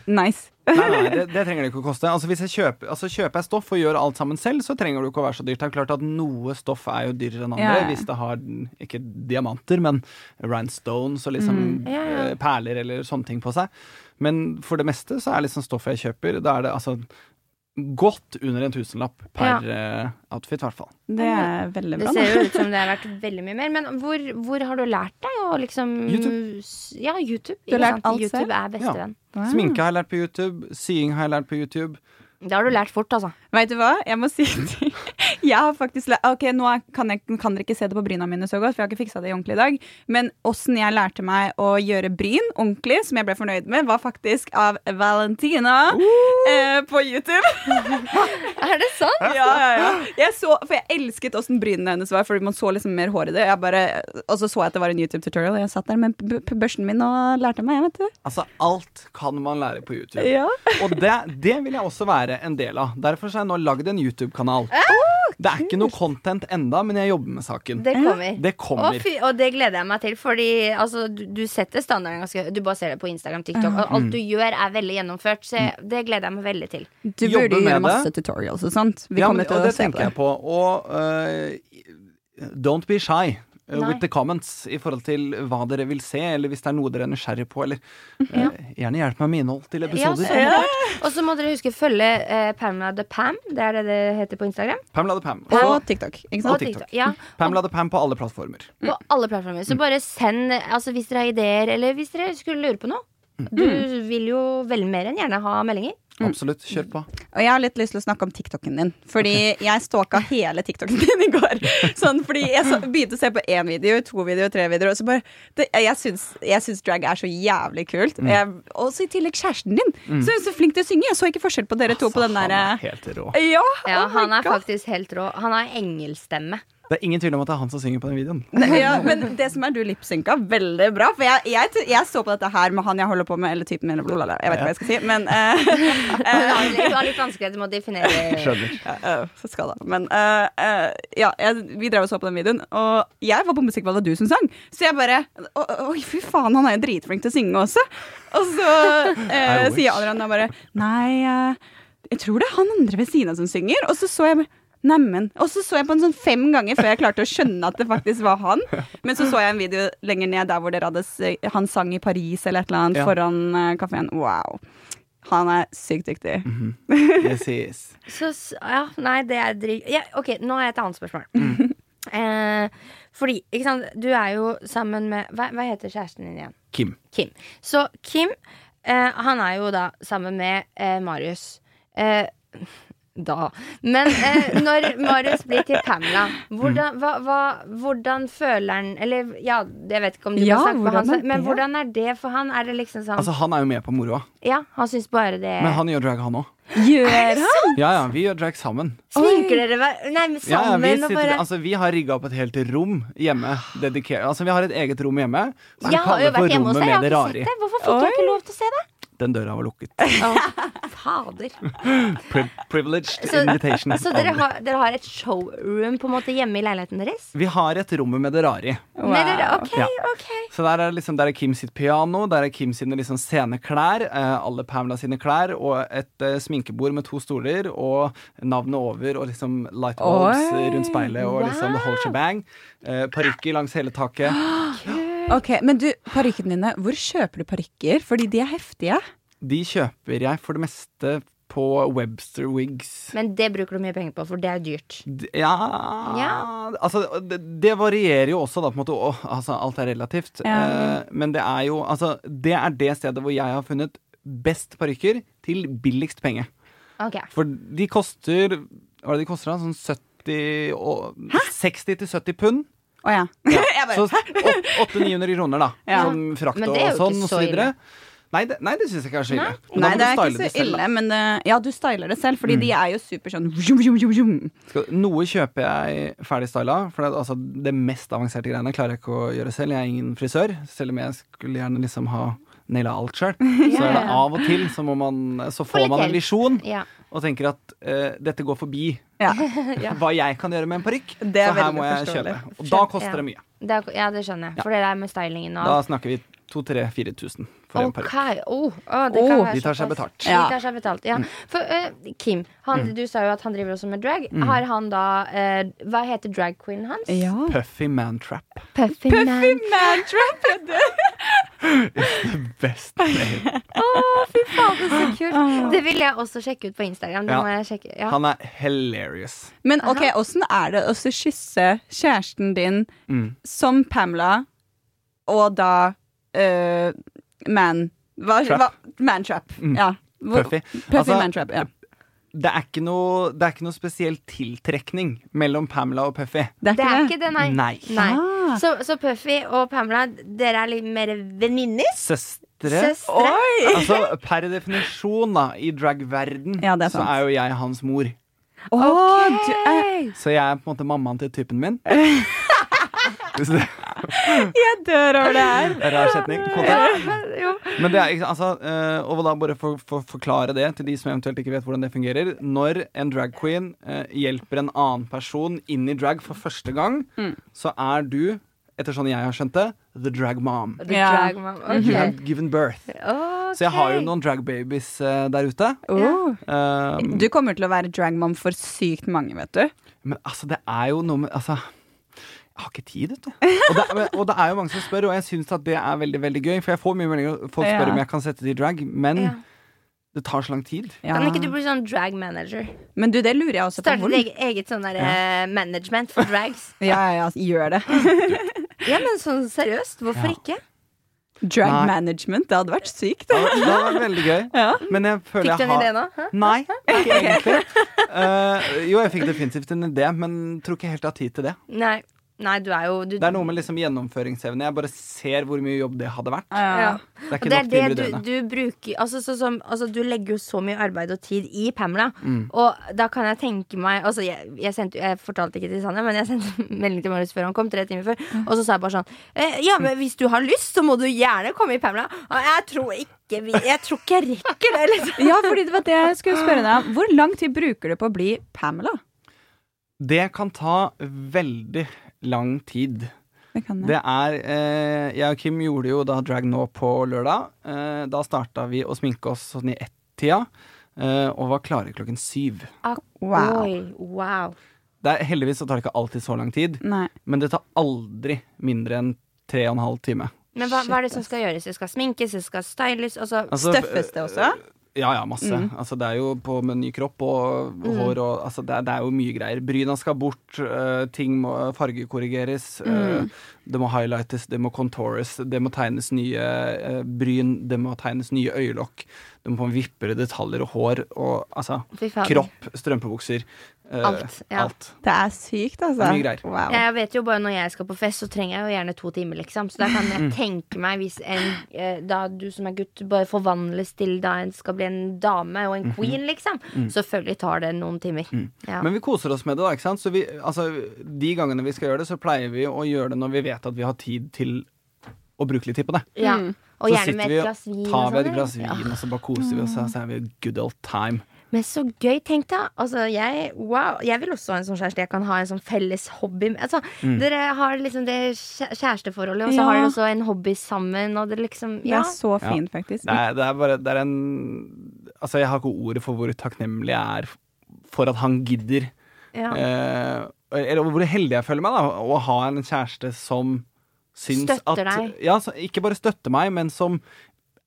Speaker 2: nice.
Speaker 4: Nei, nei, det, det trenger det ikke å koste. Altså Hvis jeg kjøper, altså kjøper jeg stoff og gjør alt sammen selv, så trenger det jo ikke å være så dyrt. Det er jo klart at Noe stoff er jo dyrere enn andre
Speaker 2: Ja, ja.
Speaker 4: hvis det har mm, ikke diamanter, men rhinestones og liksom
Speaker 2: Mm.
Speaker 3: Ja, ja.
Speaker 4: eh, perler eller sånne ting på seg. Men for det meste så er liksom stoffet jeg kjøper, da er det altså godt under en tusenlapp per eh, outfit, i hvert fall.
Speaker 2: Det er veldig
Speaker 3: Det
Speaker 2: bra.
Speaker 3: ser
Speaker 2: da.
Speaker 3: jo ut som det har vært veldig mye mer. Men hvor, hvor har du lært deg å liksom
Speaker 4: YouTube.
Speaker 3: s- Ja, YouTube.
Speaker 2: Du har
Speaker 3: ikke
Speaker 2: lært
Speaker 3: sant?
Speaker 2: alt
Speaker 3: YouTube
Speaker 2: selv?
Speaker 3: er bestevenn.
Speaker 2: Wow.
Speaker 4: Sminke har jeg lært på YouTube, sying har jeg lært på YouTube.
Speaker 3: Det har du lært fort, altså.
Speaker 2: Vet du hva? Jeg må si en ting. Jeg har faktisk lært Ok, nå er- kan, jeg, kan dere ikke se det på bryna mine så godt, for jeg har ikke fiksa det ordentlig i dag. Men åssen jeg lærte meg å gjøre bryn ordentlig, som jeg ble fornøyd med, var faktisk av Valentina
Speaker 4: Uh!
Speaker 2: eh, på YouTube.
Speaker 3: Er det sant?
Speaker 2: Ja, ja, ja. Jeg så, for jeg elsket åssen brynene hennes var, Fordi man så liksom mer hår i det. Jeg bare, og så så jeg at det var en YouTube-tutorial, og jeg satt der med b- b- børsten min og lærte meg, vet du.
Speaker 4: Altså, alt kan man lære på YouTube.
Speaker 2: Ja.
Speaker 4: Og det, det vil jeg også være en del av. Derfor så har jeg nå lagd en YouTube-kanal.
Speaker 2: Ah,
Speaker 4: Det er ikke noe content enda, men jeg jobber med saken.
Speaker 3: Det kommer.
Speaker 4: Det kommer.
Speaker 3: Å, fy, og det gleder jeg meg til, fordi altså, du, du setter standarden ganske Du bare ser det på Instagram, TikTok, og alt du gjør, er veldig gjennomført. Så jeg, det gleder jeg meg veldig til.
Speaker 2: Du
Speaker 4: Jobbe
Speaker 2: burde jo
Speaker 4: med
Speaker 2: gjøre
Speaker 4: det.
Speaker 2: masse tutorials og sånt. Vi
Speaker 4: Ja, men-
Speaker 2: kommer til
Speaker 4: og
Speaker 2: å
Speaker 4: det
Speaker 2: se
Speaker 4: tenker
Speaker 2: på
Speaker 4: jeg
Speaker 2: det.
Speaker 4: på. Og eh, don't be shy. eh,
Speaker 3: Nei.
Speaker 4: With the comments i forhold til hva dere vil se, eller hvis det er noe dere er nysgjerrig på. Eller eh, gjerne hjelp meg med innhold til
Speaker 3: Ja,
Speaker 4: episoder.
Speaker 3: så klart. Og så må dere huske å følge eh, Pamela the Pam. Det er det det heter på Instagram.
Speaker 4: Pamela the Pam.
Speaker 2: På
Speaker 4: Og
Speaker 2: TikTok. Ikke
Speaker 4: Og
Speaker 2: sant?
Speaker 4: TikTok. Mm.
Speaker 3: Ja,
Speaker 4: Pamela the Pam på alle plattformer.
Speaker 3: på alle plattformer. Så bare send altså, hvis dere har ideer, eller hvis dere skulle lure på noe. Du vil jo veldig mer enn gjerne ha meldinger.
Speaker 2: Mm.
Speaker 4: Absolutt. Kjør på.
Speaker 2: Og jeg har litt lyst til å snakke om TikToken din. Fordi jeg stalka hele TikToken din i går. Sånn, fordi jeg så, begynte å se på én video, to video, tre videoer. Og så bare det, Jeg syns, jeg syns drag er så jævlig kult.
Speaker 4: Mm.
Speaker 2: Jeg, og så i tillegg kjæresten din. Så hun er så flink til å synge. Jeg så ikke forskjell på dere to på den
Speaker 4: Altså,
Speaker 2: eh. derre
Speaker 4: han er helt rå.
Speaker 2: ja,
Speaker 3: Ja,
Speaker 2: oh my
Speaker 3: han er
Speaker 2: God.
Speaker 3: faktisk helt rå. Han har engelstemme.
Speaker 4: Det er ingen tvil om at det er han som synger på den videoen.
Speaker 2: Nei, ja, Men det som er du lipsynka veldig bra. For jeg, jeg, jeg så på dette her med han jeg holder på med, eller typen min, eller blablabla. Jeg vet ikke hva jeg skal si, men eh,
Speaker 3: Han har litt, han har litt vanskeligheter med å definere
Speaker 4: Skjønner.
Speaker 2: Ja, øh, så skal da. Men øh, øh, ja, jeg, vi drev og så på den videoen, og jeg var på musikkball, og du som sang. Så jeg bare «Å, å, Oi, fy faen, han er jo dritflink til å synge også. Og så øh,
Speaker 4: I wish.
Speaker 2: sier Adrian da bare Nei, øh, jeg tror det er han andre ved siden av som synger. Og så så jeg bare, Neimen. Og så så jeg på den sånn fem ganger før jeg klarte å skjønne at det faktisk var han. Men så så jeg en video lenger ned der hvor dere hadde s- han sang i Paris eller et eller annet
Speaker 4: Ja.
Speaker 2: foran øh, kafeen. Wow. Han er sykt dyktig.
Speaker 4: Yes, yes.
Speaker 3: Så s- ja, nei, det er drit... Ja, ok, nå har jeg et annet spørsmål.
Speaker 4: Mm.
Speaker 3: Eh, fordi, ikke sant, du er jo sammen med Hva, hva heter kjæresten din igjen?
Speaker 4: Kim.
Speaker 3: Kim. Så Kim, eh, han er jo da sammen med eh, Marius. Eh, da. Men eh, når Marius blir til Pamela,
Speaker 4: Mm.
Speaker 3: hvordan, hva, hva, hvordan føler han Eller ja, jeg vet ikke om du
Speaker 2: Ja,
Speaker 3: kan snakke for
Speaker 2: hvordan
Speaker 3: han,
Speaker 2: er
Speaker 3: så- men
Speaker 2: det?
Speaker 3: hvordan er det for han? Er det liksom sånn
Speaker 4: Altså, han er jo med på moroa,
Speaker 3: Ja, han syns bare det
Speaker 4: men han gjør drag, han òg.
Speaker 2: Gjør han?
Speaker 4: Ja, ja, vi gjør drag sammen.
Speaker 3: Sminker dere hver Nei, men
Speaker 4: Ja, ja,
Speaker 3: sammen
Speaker 4: vi,
Speaker 3: og
Speaker 4: sitter,
Speaker 3: bare
Speaker 4: altså, vi har rigga opp et helt rom hjemme. Dediker, altså, vi har et eget rom hjemme som vi
Speaker 3: Jeg har jo
Speaker 4: kaller for
Speaker 3: vært hjemme hos
Speaker 4: Rommet
Speaker 3: deg, jeg
Speaker 4: med det
Speaker 3: har ikke
Speaker 4: rare.
Speaker 3: sett det. Hvorfor fikk jeg ikke lov til å se det?
Speaker 4: Den døra var lukket.
Speaker 3: Fader.
Speaker 4: Pri privileged
Speaker 3: Så,
Speaker 4: invitation.
Speaker 3: så dere, har, dere har et showroom på en måte hjemme i leiligheten deres?
Speaker 4: Vi har et Rommet med det rare.
Speaker 3: Nei, dere, ok,
Speaker 4: Ja.
Speaker 3: ok
Speaker 4: Så der er, liksom, der er Kim sitt piano, der er Kim sine liksom sceneklær, eh, alle Pamela sine klær, og et eh, sminkebord med to stoler, og navnet over, og liksom light bulbs
Speaker 2: Oi,
Speaker 4: rundt speilet, og liksom the whole shebang. Eh, Parykker langs hele taket.
Speaker 2: Ok, Men du, parykkene dine, hvor kjøper du parykker? Fordi de er heftige.
Speaker 4: De kjøper jeg for det meste på Webster Wigs.
Speaker 3: Men det bruker du mye penger på, for det er dyrt.
Speaker 4: D- Ja,
Speaker 3: Ja.
Speaker 4: Altså, det, det varierer jo også, da, på en måte. Å, altså, alt er relativt.
Speaker 2: Ja.
Speaker 4: Eh, men det er jo Altså, det er det stedet hvor jeg har funnet best parykker til billigst penge.
Speaker 3: Ok.
Speaker 4: For de koster Hva er det de koster, da? Sånn 70 og 60 til 70 pund.
Speaker 2: Å ja. Jeg bare,
Speaker 4: Så 800-900 kroner, da.
Speaker 2: Ja.
Speaker 4: Som frakt
Speaker 3: Men
Speaker 4: og
Speaker 3: det er jo
Speaker 4: sånn
Speaker 3: ikke
Speaker 4: og
Speaker 3: så
Speaker 4: så videre. Nei, det, nei, det syns jeg ikke er så ille.
Speaker 3: Nei.
Speaker 4: Men
Speaker 2: Nei,
Speaker 4: da må
Speaker 2: det
Speaker 4: du
Speaker 2: er
Speaker 4: style
Speaker 2: ikke så
Speaker 4: selv, da.
Speaker 2: ille, men eh, ja, du styler det selv, fordi de er jo super sånn vjum, vjum, vjum, vjum.
Speaker 4: Skal, noe kjøper jeg ferdig styla, for det, altså, det mest avanserte greiene klarer jeg ikke å gjøre selv. Jeg er ingen frisør, selv om jeg skulle gjerne liksom ha naila alt sjøl. Så er det av og til så, må man, så får
Speaker 3: litt
Speaker 4: man
Speaker 3: hjelp.
Speaker 4: en visjon
Speaker 3: Ja.
Speaker 4: og tenker at eh, dette går forbi
Speaker 2: Ja.
Speaker 4: hva jeg kan gjøre med en parykk, så
Speaker 2: Det er
Speaker 4: her
Speaker 2: veldig
Speaker 4: må jeg
Speaker 2: forståelig.
Speaker 4: kjøpe. Og da
Speaker 3: Skjøn-
Speaker 4: koster
Speaker 3: ja.
Speaker 4: det mye.
Speaker 3: Det er, ja, det skjønner jeg. For det der med stylingen og
Speaker 4: Da
Speaker 3: alt.
Speaker 4: snakker vi 2000-4000 for en
Speaker 3: Ok,
Speaker 4: parykk.
Speaker 3: oh, å, det kan
Speaker 4: Oh,
Speaker 3: være
Speaker 4: de tar seg
Speaker 3: såpass.
Speaker 4: betalt. Mm.
Speaker 2: Ja.
Speaker 3: De tar seg betalt, ja. For eh, Kim, han, du sa jo at han driver også med drag.
Speaker 4: Mm.
Speaker 3: Har han da eh, Hva heter drag queen hans?
Speaker 2: Ja.
Speaker 4: Puffy Mantrap.
Speaker 3: Puffy, Man.
Speaker 2: Mantrap!
Speaker 4: Best.
Speaker 3: Å, fy fader, så kult! Det vil jeg også sjekke ut på Instagram. Det
Speaker 4: Ja.
Speaker 3: må jeg sjekke ja.
Speaker 4: Han er hilarious.
Speaker 2: Men ok, åssen er det å så kysse kjæresten din som Pamela, og da eh, Man hva,
Speaker 4: Trap.
Speaker 2: hva- Mantrap. Ja. Hvor-
Speaker 4: Puffy.
Speaker 2: Puffy
Speaker 4: Altså,
Speaker 2: Mantrap, ja.
Speaker 4: Det er ikke noe, det er ikke noe spesiell tiltrekning mellom Pamela og Puffy.
Speaker 2: Det er
Speaker 3: Det
Speaker 2: ikke
Speaker 3: er
Speaker 2: det.
Speaker 3: ikke det, nei.
Speaker 4: Nei.
Speaker 2: Ah.
Speaker 3: Så, så Puffy og Pamela, dere er litt mer venninner?
Speaker 4: Søstre.
Speaker 3: Søstre?
Speaker 4: Altså, per definisjon, da, i dragverden,
Speaker 2: Ja, det er
Speaker 4: så
Speaker 2: sant.
Speaker 4: er jo jeg hans mor.
Speaker 2: Å, du er
Speaker 4: Så jeg er på en måte mammaen til typen min. Så det
Speaker 2: Jeg dør over det her.
Speaker 4: er en rar setning. på en måte.
Speaker 3: Jo.
Speaker 4: Men det er, ikke- altså, eh, og da bare for, for forklare det til de som eventuelt ikke vet hvordan det fungerer. Når en drag queen eh, hjelper en annen person inn i drag for første gang,
Speaker 3: Mm.
Speaker 4: så er du, etter sånn jeg har skjønt det, the drag mom.
Speaker 3: The
Speaker 2: Ja.
Speaker 3: drag mom. ok.
Speaker 4: You have given birth.
Speaker 3: Ok.
Speaker 4: Mhm. Så jeg har jo noen drag babies eh, der ute.
Speaker 2: Oh.
Speaker 4: Eh,
Speaker 2: Du kommer til å være dragmom for sykt mange, vet du.
Speaker 4: men altså, det er jo noe med Altså, jeg har ikke tid, vet du. Og det, er- men, og det er jo mange som spør, og jeg syns at det er veldig veldig gøy. For jeg får mye meldinger, folk spør
Speaker 2: Ja.
Speaker 4: om jeg kan sette det i drag, men
Speaker 3: Ja.
Speaker 4: det tar så lang tid.
Speaker 2: Ja.
Speaker 3: Kan ikke du bli sånn drag manager?
Speaker 2: Men du, det lurer jeg også på.
Speaker 3: Starte
Speaker 2: Hvor...
Speaker 3: ditt eget, eget sånn der, eh, management for drags.
Speaker 2: Ja, ja, ja, gjør det.
Speaker 3: Ja, men sånn seriøst, hvorfor
Speaker 4: Ja.
Speaker 3: ikke?
Speaker 2: Drag
Speaker 4: Nei.
Speaker 2: management, det hadde vært sykt.
Speaker 4: Ja, Det hadde vært veldig gøy.
Speaker 2: Ja.
Speaker 4: Men jeg føler
Speaker 3: Fikk du
Speaker 4: jeg
Speaker 3: en
Speaker 4: har
Speaker 3: idé nå? Hæ?
Speaker 4: Nei, ikke egentlig. Eh, jo, jeg fikk definitivt en idé, men tror ikke helt jeg har tid til det.
Speaker 3: Nei. Nei, du er jo du,
Speaker 4: Det er noe med liksom gjennomføringsevne. Jeg bare ser hvor mye jobb det hadde vært.
Speaker 3: ja.
Speaker 4: Det
Speaker 3: Og
Speaker 4: er ikke
Speaker 3: det
Speaker 4: nok til
Speaker 3: er det
Speaker 4: individuene.
Speaker 3: du, du bruker altså, sånn som, altså, Du legger jo så mye arbeid og tid i Pamela.
Speaker 4: Mm.
Speaker 3: Og da kan jeg tenke meg altså, jeg, jeg, sendte, jeg fortalte ikke til Sanne, men jeg sendte melding til Marius før han kom. Tre timer før. Og så sa jeg bare sånn eh, Ja, men hvis du har lyst, så må du gjerne komme i Pamela. Og Jeg tror ikke, vi- jeg, tror ikke jeg rekker det, liksom.
Speaker 2: Ja, fordi det var det jeg skulle spørre deg om. Hvor lang tid bruker du på å bli Pamela?
Speaker 4: Det kan ta veldig lang tid.
Speaker 2: Det kan jeg.
Speaker 4: Det er eh, Jeg og Kim gjorde jo da drag nå på lørdag. Eh, da starta vi å sminke oss sånn i ett-tida, eh, og var klare klokken syv.
Speaker 2: Wow.
Speaker 3: Oi, wow.
Speaker 4: Det er, heldigvis så tar det ikke alltid så lang tid,
Speaker 2: Nei.
Speaker 4: men det tar aldri mindre enn tre og en halv time.
Speaker 3: Men hva, hva er det som skal gjøres? Det skal sminkes, det skal styles. Altså,
Speaker 4: Altså,
Speaker 2: Støffes det også?
Speaker 4: Ja, ja, masse.
Speaker 3: Mm.
Speaker 4: Altså, det er jo på med ny kropp og hår og altså, det, er, det er jo mye greier. Bryna skal bort, eh, ting må fargekorrigeres.
Speaker 3: Mm.
Speaker 4: eh, det må highlightes, det må contours, det må tegnes nye eh, bryn, det må tegnes nye øyelokk. Det må vippere detaljer og hår og altså
Speaker 3: fy fader.
Speaker 4: Kropp, strømpebukser. eh,
Speaker 3: Alt, ja.
Speaker 4: alt.
Speaker 2: Det er sykt, altså.
Speaker 4: Det er mye greier.
Speaker 2: Wow.
Speaker 3: Jeg vet jo bare Når jeg skal på fest, så trenger jeg jo gjerne to timer. liksom Så da kan jeg
Speaker 4: Mm.
Speaker 3: tenke meg, hvis en, eh, da du som er gutt, bare forvandles til da en skal bli en dame og en queen, liksom, selvfølgelig tar det noen timer. Ja.
Speaker 4: Mhm. Mm. Men vi koser oss med det, da. ikke sant? Så vi, altså, de gangene vi skal gjøre det, så pleier vi å gjøre det når vi vet at vi har tid til å bruke litt tid på det.
Speaker 3: ja. Og
Speaker 4: så
Speaker 3: gjerne
Speaker 4: sitter
Speaker 3: med
Speaker 4: vi
Speaker 3: et
Speaker 4: og
Speaker 3: glass vin. og
Speaker 4: tar vi et
Speaker 3: sånn,
Speaker 4: glass vin,
Speaker 3: ja. Mm.
Speaker 4: og så bare koser vi oss, og så er vi good old time.
Speaker 3: Men så gøy, tenk deg. Altså, jeg, wow, jeg vil også ha en sånn kjæreste. Jeg kan ha en sånn felles hobby. med- Altså,
Speaker 4: Mm.
Speaker 3: Dere har liksom det kjæ- kjæresteforholdet, og så
Speaker 2: Ja.
Speaker 3: har dere også en hobby sammen. Og det liksom,
Speaker 2: Det
Speaker 3: ja.
Speaker 2: er så
Speaker 4: Ja.
Speaker 2: fint, faktisk.
Speaker 4: Det er, det er bare det er en Altså, jeg har ikke ordet for hvor takknemlig jeg er for at han gidder.
Speaker 3: ja.
Speaker 4: Eh, eller hvor heldig jeg føler meg, da, å ha en kjæreste som syns
Speaker 3: Støtter
Speaker 4: at
Speaker 3: deg.
Speaker 4: Ja, som ikke bare støtter meg, men som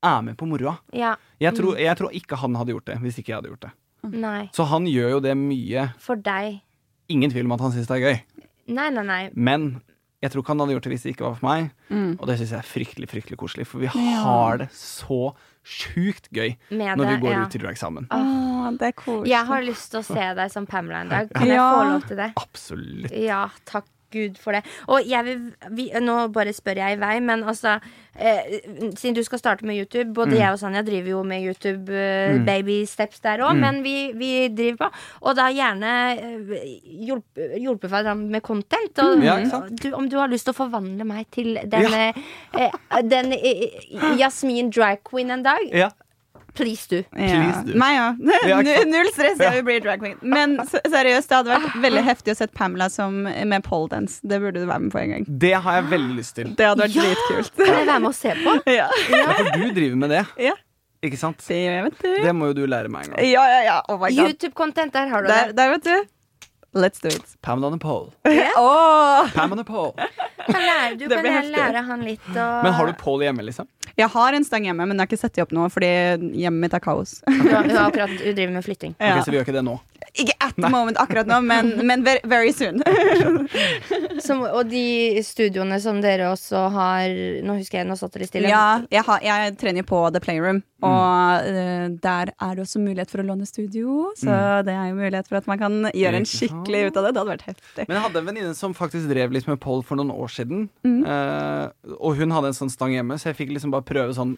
Speaker 4: er med på moroa.
Speaker 3: Ja.
Speaker 4: Jeg, tror- jeg tror ikke han hadde gjort det hvis ikke jeg hadde gjort det.
Speaker 3: Nei.
Speaker 4: Så han gjør jo det mye.
Speaker 3: For deg.
Speaker 4: Ingen tvil om at han syns det er gøy.
Speaker 3: Nei, nei, nei.
Speaker 4: Men jeg tror ikke han hadde gjort det hvis det ikke var for meg.
Speaker 2: Mm.
Speaker 4: Og det syns jeg er fryktelig fryktelig koselig, for vi har det så sjukt gøy
Speaker 3: Med
Speaker 4: når vi
Speaker 3: det,
Speaker 4: går
Speaker 3: ja.
Speaker 4: ut i drag sammen.
Speaker 2: Åh, det er koselig.
Speaker 3: Jeg har lyst til å se deg som Pamela en dag. Kan jeg
Speaker 2: Ja.
Speaker 3: få lov til det?
Speaker 4: Absolutt.
Speaker 3: Ja, takk Gud for det. Og jeg vil, vi, nå bare spør jeg i vei, men altså eh, Siden du skal starte med YouTube,
Speaker 4: Mm.
Speaker 3: både jeg og Sanja driver jo med YouTube eh, baby steps der
Speaker 4: Mm.
Speaker 3: òg, men vi, vi driver på. Og da gjerne eh, hjulpe, hjulpe hverandre med content. Og,
Speaker 4: Mm. Ja, ikke sant?
Speaker 3: du, om du har lyst til å forvandle meg til den,
Speaker 4: Ja.
Speaker 3: eh, eh, den eh, Jasmin drag queen en dag,
Speaker 4: Ja.
Speaker 3: please du.
Speaker 2: Ja.
Speaker 4: Please do.
Speaker 2: Meg òg.
Speaker 4: Ja, ikke sant?
Speaker 2: Null stress, jeg vil bli drag queen. Men s- seriøst, det hadde
Speaker 3: Ah.
Speaker 2: vært veldig heftig å se Pamela som, med poledance. Det burde du være med på en gang.
Speaker 4: Det har jeg veldig lyst til.
Speaker 2: Det hadde vært dritkult.
Speaker 3: Kan jeg være med og se på?
Speaker 2: Ja.
Speaker 4: Ja, for du driver med det,
Speaker 2: ja.
Speaker 4: ikke sant?
Speaker 2: Det gjør jeg, vet du.
Speaker 4: Det må jo du lære meg en gang.
Speaker 2: Ja, ja, ja. Oh my god.
Speaker 3: YouTube-content, der har du
Speaker 2: Der,
Speaker 3: det.
Speaker 2: der, vet du. eh, Let's do it.
Speaker 4: Pam on a pole.
Speaker 2: Åh.
Speaker 4: Pam on a pole.
Speaker 3: Kan lære, du
Speaker 2: Det
Speaker 3: kan
Speaker 2: blir
Speaker 3: jeg
Speaker 2: heftig.
Speaker 3: lære han litt å
Speaker 4: Men har du pole hjemme, liksom?
Speaker 2: Jeg har en stang hjemme, men jeg har ikke satt dem opp nå fordi hjemmet mitt er kaos.
Speaker 3: Hun, har- hun, har akkurat, hun driver med flytting.
Speaker 4: Ok,
Speaker 2: Ja.
Speaker 4: så vi gjør ikke det nå.
Speaker 2: Ikke at the moment akkurat nå, men, men very, very soon.
Speaker 3: Som, og de studioene som dere også har Nå husker jeg, nå satt dere stille.
Speaker 2: Ja, jeg, har, jeg trener på The Playroom, og eh, der er det også mulighet for å låne studio. Så det er jo mulighet for at man kan gjøre en
Speaker 4: Mm. Ikke sant?
Speaker 2: skikkelig ut av det. Det hadde vært heftig.
Speaker 4: Men jeg hadde en venninne som faktisk drev litt med pole for noen år siden.
Speaker 3: Mm.
Speaker 4: eh, og hun hadde en sånn stang hjemme, så jeg fikk liksom bare prøve sånn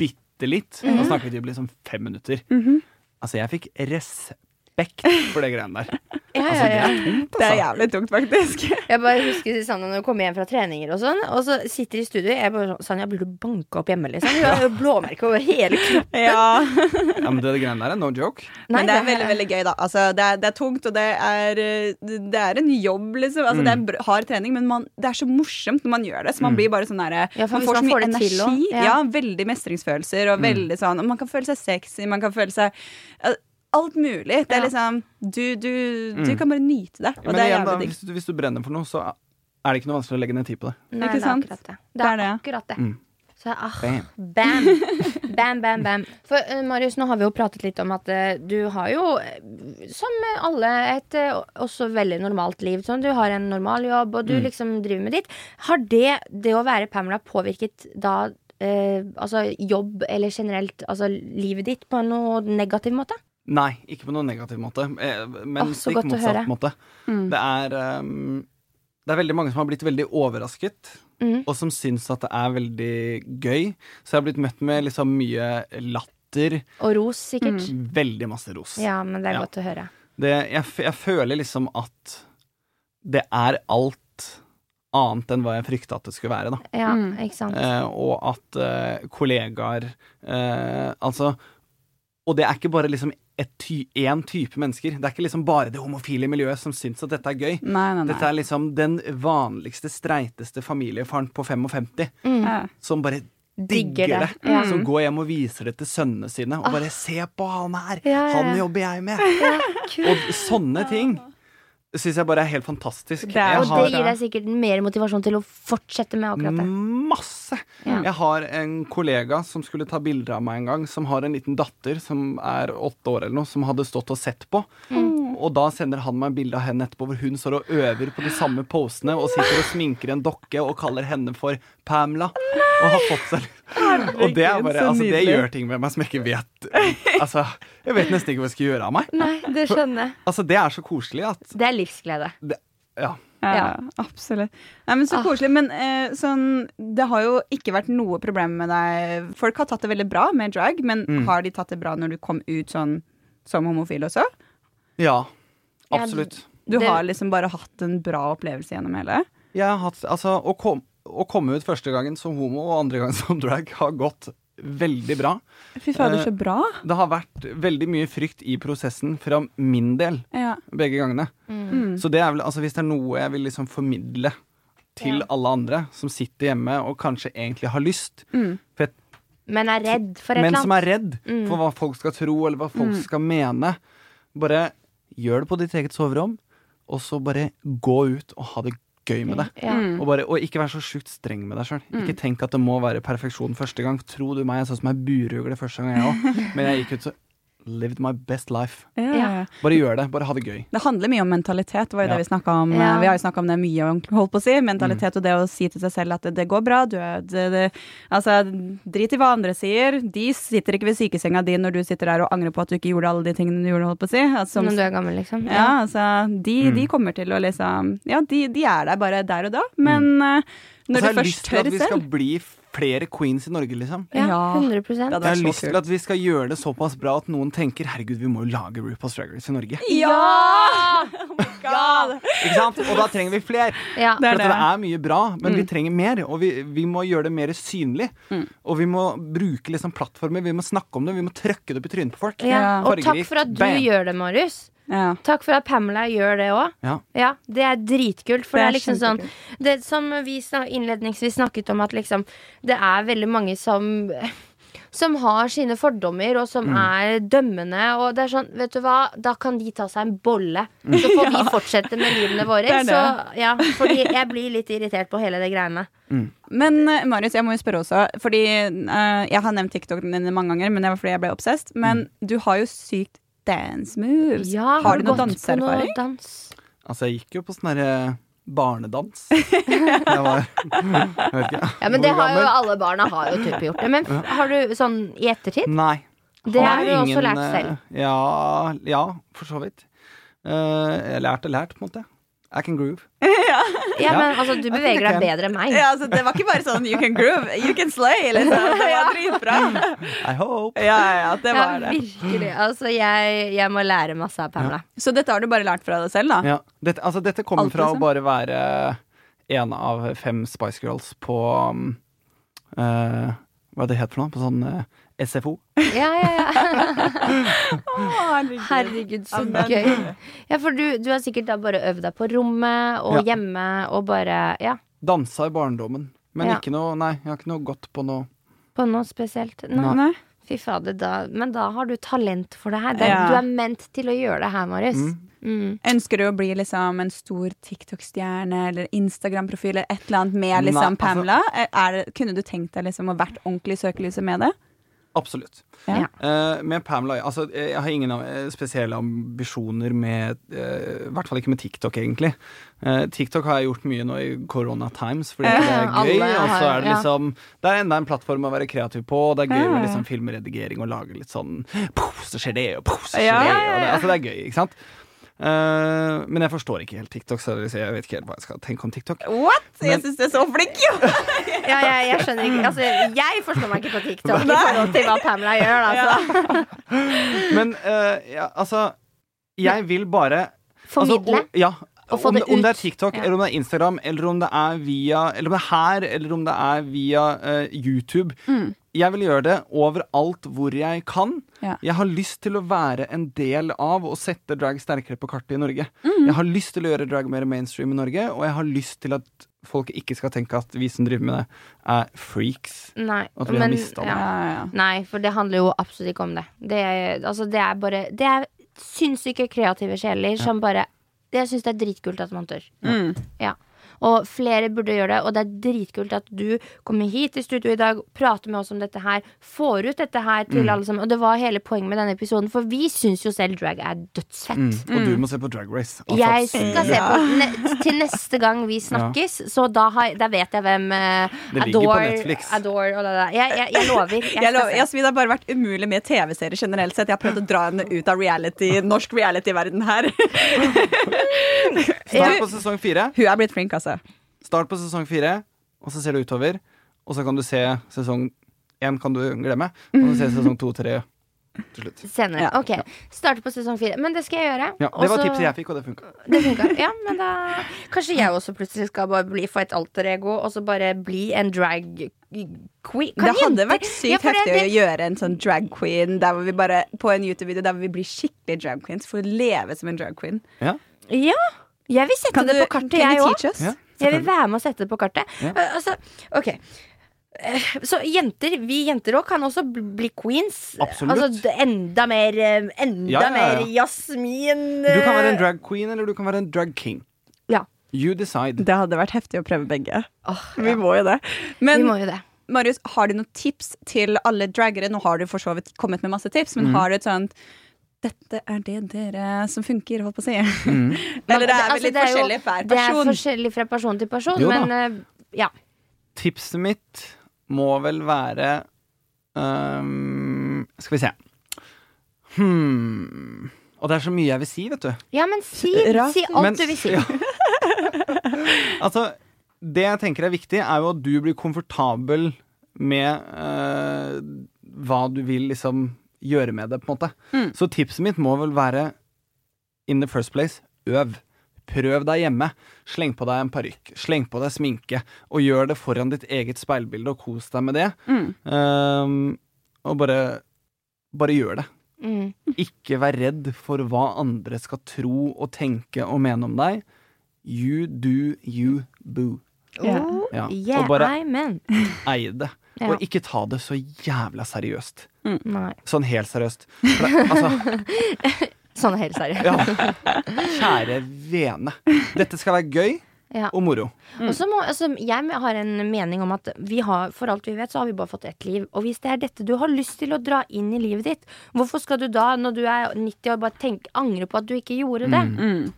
Speaker 4: bitte litt.
Speaker 3: Mm.
Speaker 4: Da snakket vi om liksom fem minutter.
Speaker 3: Mm-hmm.
Speaker 4: Altså, jeg fikk respekt for det greiene der.
Speaker 3: Ja,
Speaker 4: Altså,
Speaker 3: ja,
Speaker 4: det
Speaker 3: ja.
Speaker 4: er tungt,
Speaker 2: Det er
Speaker 4: altså.
Speaker 2: jævlig tungt, faktisk.
Speaker 3: Jeg bare husker Sanja når hun kommer hjem fra treninger og sånn, og så sitter i studio. Jeg bare sånn Sanja, blir du banka opp hjemme, liksom? Hun har jo blåmerke over hele kroppen.
Speaker 2: Ja.
Speaker 4: Ja, men det greiene der er no joke.
Speaker 3: Nei,
Speaker 2: Men det er
Speaker 3: det er-
Speaker 2: veldig veldig gøy, da. Altså, det, er, det er tungt, og det er, eh, det er en jobb, liksom. Altså,
Speaker 4: Mm.
Speaker 2: Det er br- hard trening, men man, det er så morsomt når man gjør det. Så man blir bare sånn derre
Speaker 3: Ja, for
Speaker 2: Man får
Speaker 3: hvis
Speaker 2: så
Speaker 3: man
Speaker 2: mye
Speaker 3: får det
Speaker 2: energi.
Speaker 3: til også,
Speaker 2: ja.
Speaker 3: ja.
Speaker 2: veldig mestringsfølelser,
Speaker 4: Mm.
Speaker 2: og veldig sånn og Man kan føle seg sexy, man kan føle seg eh, Alt mulig. Det er
Speaker 3: Ja.
Speaker 2: liksom Du, du, du
Speaker 4: Mm.
Speaker 2: kan bare nyte det, og
Speaker 4: Men
Speaker 2: det er
Speaker 4: igjen, da,
Speaker 2: jævlig digg.
Speaker 4: hvis, du, hvis du brenner for noe, så er det ikke noe vanskelig å legge ned tid på det.
Speaker 3: Nei,
Speaker 2: Ikke
Speaker 3: det er
Speaker 2: sant?
Speaker 3: akkurat det.
Speaker 2: Det
Speaker 3: Det
Speaker 2: er
Speaker 3: er
Speaker 2: det.
Speaker 3: akkurat det.
Speaker 4: Mm.
Speaker 3: Så ah,
Speaker 4: Bam.
Speaker 3: Bam! Bam, bam, bam. For eh, Marius, nå har vi jo pratet litt om at eh, du har jo, eh, som eh, alle, et eh, også veldig normalt liv. Sånn, du har en normal jobb, og du
Speaker 4: Mm.
Speaker 3: liksom driver med ditt. Har det, det å være Pamela påvirket da eh, altså jobb eller generelt altså livet ditt på noe negativ måte?
Speaker 4: Nei, ikke på noen negativ måte, eh, men
Speaker 3: Åh, så
Speaker 4: stikk
Speaker 3: godt å
Speaker 4: motsatt
Speaker 3: høre.
Speaker 4: måte.
Speaker 3: Mm.
Speaker 4: Det er ehm, Det er veldig mange som har blitt veldig overrasket,
Speaker 3: Mm.
Speaker 4: og som syns at det er veldig gøy. Så jeg har blitt møtt med liksom mye latter,
Speaker 3: Og ros, sikkert.
Speaker 4: veldig masse ros.
Speaker 3: Ja, men det er
Speaker 4: Mm. Ja.
Speaker 3: godt å høre.
Speaker 4: Det, jeg, f- jeg føler liksom at det er alt annet enn hva jeg frykta at det skulle være, da.
Speaker 3: Ja, ikke sant.
Speaker 4: Eh, og at eh, kollegaer eh, Altså Og det er ikke bare liksom én ty en type mennesker. Det er ikke liksom bare det homofile miljøet som syns at dette er gøy.
Speaker 2: Nei, nei,
Speaker 4: Dette er liksom den vanligste, streiteste familiefaren på 55
Speaker 2: Ja.
Speaker 4: som bare
Speaker 3: Mm. Digger
Speaker 4: digger det. Mm.
Speaker 3: det.
Speaker 4: Som går hjem og viser det til sønnene sine. Og bare 'se på han her!
Speaker 3: Ah. Ja, ja,
Speaker 4: Han
Speaker 3: ja.
Speaker 4: jobber jeg med!'
Speaker 3: kult.
Speaker 4: Og sånne ting syns jeg bare er helt fantastisk.
Speaker 2: Det er-
Speaker 4: Jeg
Speaker 3: Og
Speaker 4: har-
Speaker 3: det
Speaker 4: Mm.
Speaker 3: gir deg sikkert mer motivasjon til å fortsette med akkurat det.
Speaker 4: Masse!
Speaker 3: Ja.
Speaker 4: Jeg har en kollega som skulle ta bilder av meg en gang, som har en liten datter som er åtte år eller noe, som hadde stått og sett på.
Speaker 3: Mm.
Speaker 4: Og da sender han meg bilde av henne etterpå hvor hun står og øver på de samme posene og sitter og sminker en dokke og kaller henne for Pamela. Og har fått seg Og det er bare
Speaker 2: så
Speaker 4: Altså, det
Speaker 2: nydelig.
Speaker 4: gjør ting med meg som jeg ikke vet Altså, jeg vet nesten ikke hva jeg skal gjøre av meg.
Speaker 3: Nei, det skjønner jeg.
Speaker 4: Altså, det er så koselig at
Speaker 3: Det er livsglede.
Speaker 4: det, Ja.
Speaker 2: Ja,
Speaker 3: Ja.
Speaker 2: absolutt. Nei, men Så
Speaker 3: Ah.
Speaker 2: koselig. Men eh, sånn, det har jo ikke vært noe problem med deg. Folk har tatt det veldig bra med drag, men har de tatt det bra når du kom ut sånn som homofil også?
Speaker 4: Ja.
Speaker 3: Ja,
Speaker 4: Absolutt.
Speaker 2: Du
Speaker 3: Det-
Speaker 2: har liksom bare hatt en bra opplevelse gjennom hele?
Speaker 4: Jeg har hatt, altså, å, kom, å komme ut første gangen som homo og andre gangen som drag har gått veldig bra.
Speaker 2: Fy fader,
Speaker 4: fader, så
Speaker 2: så bra.
Speaker 4: Det har vært veldig mye frykt i prosessen fra min del
Speaker 2: Ja.
Speaker 4: begge gangene.
Speaker 3: Mm.
Speaker 4: Så det er vel, altså, hvis det er noe jeg vil liksom formidle til
Speaker 3: Ja.
Speaker 4: alle andre som sitter hjemme og kanskje egentlig har lyst, for jeg
Speaker 3: Men er redd for Mm. et
Speaker 4: men
Speaker 3: eller
Speaker 4: som
Speaker 3: annet. Mm.
Speaker 4: er redd for hva folk skal tro, eller hva folk skal mene. Bare gjør det på ditt eget soverom, og så bare gå ut og ha det gøy med det.
Speaker 3: Ja.
Speaker 2: Mm.
Speaker 4: Og, bare, og ikke vær så sjukt streng med deg sjøl. Ikke tenk at det må være perfeksjon første gang. Tro du meg, jeg så ut som ei burugle første gang, jeg òg. Men jeg gikk ut så Lived my best life.
Speaker 2: Ja.
Speaker 4: Bare gjør det. Bare ha det gøy.
Speaker 2: Det handler mye om mentalitet. Det var jo
Speaker 4: Ja. Mm.
Speaker 2: det Vi snakket om
Speaker 3: Ja.
Speaker 2: eh, Vi har jo snakka om det mye, holdt på å si. Mentalitet og det å si til seg selv at det, det går bra, du er det, det, Altså, drit i hva andre sier. De sitter ikke ved sykesenga di når du sitter der og angrer på at du ikke gjorde alle de tingene du gjorde, holdt på å si. Altså,
Speaker 3: Når du er gammel, liksom.
Speaker 2: ja, altså, de, de
Speaker 4: Mm.
Speaker 2: kommer til å liksom Ja, de, de er der bare der og da, men eh,
Speaker 4: Og
Speaker 2: når
Speaker 4: så har
Speaker 2: du
Speaker 4: Mm. Altså, jeg lyst
Speaker 2: først
Speaker 4: til at
Speaker 2: tør
Speaker 4: vi skal
Speaker 2: selv
Speaker 4: bli flere queens i Norge, liksom.
Speaker 3: Ja,
Speaker 2: Ja.
Speaker 3: 100
Speaker 2: Ja, det
Speaker 4: Jeg har
Speaker 2: er så
Speaker 4: lyst til
Speaker 2: kult.
Speaker 4: at vi skal gjøre det såpass bra at noen tenker herregud, vi må jo lage RuPaul's Drag Race i Norge.
Speaker 2: Ja! God.
Speaker 4: Ikke sant? Og da trenger vi flere.
Speaker 3: Ja.
Speaker 2: Det Mm.
Speaker 4: For
Speaker 2: er
Speaker 4: at det er mye bra, men vi trenger mer. Og vi, vi må gjøre det mer synlig.
Speaker 2: Mm.
Speaker 4: Og vi må bruke liksom plattformer, vi må snakke om det, vi må trøkke det opp i trynet på folk.
Speaker 3: Ja.
Speaker 2: Ja.
Speaker 3: Og takk for at du
Speaker 4: Bam.
Speaker 3: gjør det, Marius.
Speaker 2: Ja.
Speaker 3: Takk for at Pamela gjør det òg.
Speaker 4: Ja.
Speaker 3: Ja, det er dritkult. For det er, liksom sånn
Speaker 2: kjempekult.
Speaker 3: det, Som vi snak- innledningsvis snakket om, at liksom det er veldig mange som som har sine fordommer, og som er dømmende. Og det er sånn, vet du hva, da kan de ta seg en bolle. Så får vi fortsette med livene våre.
Speaker 2: Det er det.
Speaker 3: Så, ja, fordi jeg blir litt irritert på hele det greiene.
Speaker 2: Men eh, Marius, jeg må jo spørre også, fordi eh, jeg har nevnt TikTok dine mange ganger, men det var fordi jeg ble obsessed. Men du har jo sykt dance moves.
Speaker 3: Ja,
Speaker 2: har du noe
Speaker 3: gått på
Speaker 2: danseerfaring?
Speaker 3: noe dans?
Speaker 4: Altså, jeg gikk jo på sånn derre barnedans. Jeg var Jeg vet ikke.
Speaker 3: Ja, men det
Speaker 4: hvor
Speaker 3: har jo
Speaker 4: gammel.
Speaker 3: alle barna har jo type gjort det. Men f- har du sånn i ettertid?
Speaker 4: Nei.
Speaker 3: Det har du også
Speaker 4: ingen,
Speaker 3: lært
Speaker 4: eh,
Speaker 3: selv.
Speaker 4: Ja, ja, for så vidt. Eh, jeg lærte lært, på en måte. I can groove.
Speaker 3: Ja,
Speaker 4: Ja.
Speaker 3: men altså, du beveger deg
Speaker 4: jeg kan.
Speaker 3: bedre enn meg.
Speaker 2: Ja, altså, det var ikke bare sånn you can groove, you can slay, liksom. Det var dritbra.
Speaker 4: I hope.
Speaker 2: Ja, ja, ja, det
Speaker 3: Ja,
Speaker 2: var det.
Speaker 3: virkelig. Altså, jeg, jeg må lære masse av Pamela.
Speaker 2: Så dette har du bare lært fra deg selv, da?
Speaker 4: Ja. Dette, altså, dette kommer
Speaker 2: Alt,
Speaker 4: fra
Speaker 2: liksom?
Speaker 4: å bare være en av fem Spice Girls på um, eh, Hva det het for noe? På sånn eh, SFO.
Speaker 3: Ja, ja, ja.
Speaker 2: Herregud.
Speaker 3: Herregud, så
Speaker 2: Amen.
Speaker 3: gøy. Ja, for du, du har sikkert da bare øvd deg på rommet og
Speaker 4: Ja.
Speaker 3: hjemme og bare Ja,
Speaker 4: Dansa i barndommen. Men
Speaker 3: Ja.
Speaker 4: ikke noe Nei, jeg har ikke noe godt på noe
Speaker 3: på noe spesielt. Nei.
Speaker 2: Nei.
Speaker 3: Fy fader, da Men da har du talent for det her. Det, er-
Speaker 2: Ja.
Speaker 3: Du er ment til å gjøre det her, Marius. Mm.
Speaker 2: Ønsker du å bli liksom en stor TikTok-stjerne eller Instagram-profil eller et eller annet med liksom
Speaker 4: Nei, altså-
Speaker 2: Pamela? Er det, kunne du tenkt deg liksom å vært ordentlig i søkelyset med det?
Speaker 4: Absolutt.
Speaker 2: Ja.
Speaker 4: Eh, med Pamela altså, Jeg har ingen eh, spesielle ambisjoner med eh, I hvert fall ikke med TikTok, egentlig. Eh, TikTok har jeg gjort mye nå i corona times, fordi det er
Speaker 3: alle
Speaker 4: gøy. Og så
Speaker 3: har-
Speaker 4: er det
Speaker 3: ja.
Speaker 4: liksom Det er enda en plattform å være kreativ på, og det er gøy
Speaker 2: Ja.
Speaker 4: med liksom filmredigering og lage litt sånn Poff, så skjer det, og poff, så skjer
Speaker 2: Ja,
Speaker 4: det.
Speaker 2: ja,
Speaker 4: Og det, altså, det er gøy, ikke sant? Eh, men jeg forstår ikke helt TikTok, så jeg vet ikke helt hva jeg skal tenke om TikTok.
Speaker 2: What?!
Speaker 4: Jeg Men-
Speaker 2: syns du er så flink, jo!
Speaker 3: Ja, jeg, jeg skjønner ikke Altså, jeg forstår meg ikke på TikTok i forhold til hva Pamela gjør, altså.
Speaker 4: Men eh, ja, altså Jeg vil bare
Speaker 3: Formidle.
Speaker 4: Altså, o- ja.
Speaker 3: Og få
Speaker 4: om,
Speaker 3: det
Speaker 4: om det er
Speaker 3: ut.
Speaker 4: TikTok,
Speaker 3: Ja.
Speaker 4: eller om det er Instagram, eller om det er via Eller om det er her, eller om det er via eh, YouTube.
Speaker 3: Mm.
Speaker 4: Jeg vil gjøre det overalt hvor jeg kan.
Speaker 2: Ja.
Speaker 4: Jeg har lyst til å være en del av å sette drag sterkere på kartet i Norge.
Speaker 3: Mm.
Speaker 4: Jeg har lyst til å gjøre drag mer mainstream i Norge, og jeg har lyst til at folk ikke skal tenke at vi som driver med det, er freaks.
Speaker 3: Nei,
Speaker 4: At vi har mistet det.
Speaker 2: Ja, ja, ja.
Speaker 3: Nei, for det handler jo absolutt ikke om det. Det er, altså, det er bare Det er sinnssyke kreative sjeler som bare det- Jeg syns det er dritkult at man tør.
Speaker 2: Mm.
Speaker 3: Ja. Og flere burde gjøre det, og det er dritkult at du kommer hit i studio i dag, prater med oss om dette her, får ut dette her til
Speaker 4: Mm.
Speaker 3: alle sammen. Og det var hele poenget med denne episoden, for vi syns jo selv drag er dødsfett.
Speaker 4: Mm. Og du må se på Drag Race. Altså,
Speaker 3: Jeg skal se
Speaker 2: Ja.
Speaker 3: på ne til neste gang vi snakkes, så da, har, da vet jeg hvem eh,
Speaker 4: Det ligger på
Speaker 3: Adore,
Speaker 4: Netflix.
Speaker 3: Adore og det der. Jeg, jeg, jeg lover. Jeg skal
Speaker 2: Jeg lov,
Speaker 3: se.
Speaker 2: jeg, det har bare vært umulig med TV-serier generelt sett. Jeg har prøvd å dra henne ut av reality, norsk reality-verden her.
Speaker 4: Start på sesong fire.
Speaker 2: Hun er blitt flink, altså.
Speaker 4: Start på sesong fire, og så ser du utover. Og så kan du se sesong én kan du glemme, og så se sesong to, tre til slutt.
Speaker 3: Senere.
Speaker 2: Ja.
Speaker 3: Ok. Starte på sesong fire. Men det skal jeg gjøre.
Speaker 4: Ja, det var
Speaker 3: Også-
Speaker 4: tipset jeg fikk, og det funka.
Speaker 3: Det funka. Ja, men da Kanskje jeg også plutselig skal bare bli, få et alter ego, og så bare bli en drag queen. Kan
Speaker 2: Det hadde
Speaker 3: jenter-
Speaker 2: vært
Speaker 3: Ja,
Speaker 2: sykt
Speaker 3: for det-
Speaker 2: heftig å
Speaker 3: det-
Speaker 2: gjøre en sånn drag queen der hvor vi bare, på en YouTube-video der hvor vi blir skikkelig drag queens for å leve som en drag queen.
Speaker 4: Ja.
Speaker 3: Ja. Jeg vil sette
Speaker 2: Kan du
Speaker 3: det på
Speaker 2: kan
Speaker 3: kartet,
Speaker 2: du
Speaker 3: jeg òg.
Speaker 2: teach us?
Speaker 4: Ja,
Speaker 3: Jeg vil
Speaker 4: selvfølgelig.
Speaker 3: være med og sette det på kartet.
Speaker 4: Ja.
Speaker 3: Eh, altså, ok Eh, Så jenter, vi jenter òg kan også bl- bli queens.
Speaker 4: Absolutt.
Speaker 3: Altså, d- enda mer eh, Enda
Speaker 4: Ja, ja, ja.
Speaker 3: mer Jasmin
Speaker 4: Du kan være en
Speaker 3: eh,
Speaker 4: drag queen, eller du kan være en drag king.
Speaker 3: Ja.
Speaker 4: You decide.
Speaker 2: Det hadde vært heftig å prøve begge.
Speaker 3: Åh,
Speaker 2: Vi må jo det.
Speaker 3: Vi
Speaker 2: Men
Speaker 3: må jo det.
Speaker 2: Marius, har du noen tips til alle draggere? Nå har du for så vidt kommet med masse tips, men har du et sånt dette er det dere som funker, holdt på å si. Eller det er vel
Speaker 3: Altså,
Speaker 2: litt
Speaker 3: det er jo-
Speaker 2: forskjellig hver
Speaker 3: Det er
Speaker 2: person.
Speaker 3: forskjellig fra person til person,
Speaker 4: Jo da.
Speaker 3: men eh, ja.
Speaker 4: Tipset mitt må vel være øhm, Skal vi se. Hmm. Og det er så mye jeg vil si, vet du.
Speaker 3: Ja, men si,
Speaker 2: Raskt.
Speaker 3: si alt
Speaker 4: Men-
Speaker 3: du vil si.
Speaker 4: Ja. altså, det jeg tenker er viktig, er jo at du blir komfortabel med eh, hva du vil liksom gjøre med det, på en måte.
Speaker 2: Mm.
Speaker 4: Så tipset mitt må vel være in the first place, øv. Prøv deg hjemme. Sleng på deg en parykk, sleng på deg sminke, og gjør det foran ditt eget speilbilde, og kos deg med det.
Speaker 2: Mm.
Speaker 4: Ehm, og bare bare gjør det.
Speaker 3: Mm.
Speaker 4: Ikke vær redd for hva andre skal tro og tenke og mene om deg. You do you boo.
Speaker 2: Ja.
Speaker 3: Oh,
Speaker 4: Ja.
Speaker 3: yeah,
Speaker 4: Og bare
Speaker 3: amen.
Speaker 4: eie det.
Speaker 3: Ja.
Speaker 4: Og ikke ta det så jævla seriøst.
Speaker 3: Nei.
Speaker 4: Sånn helt seriøst. For det, altså,
Speaker 3: Sånn helt seriøst.
Speaker 4: ja. Kjære vene. Dette skal være gøy
Speaker 3: Ja.
Speaker 4: og moro.
Speaker 3: Og så må, altså, jeg har en mening om at vi har, for alt vi vet, så har vi bare fått ett liv. Og hvis det er dette du har lyst til å dra inn i livet ditt, hvorfor skal du da, når du er 90 år, bare tenke, angre på at du ikke gjorde det?
Speaker 2: Mm.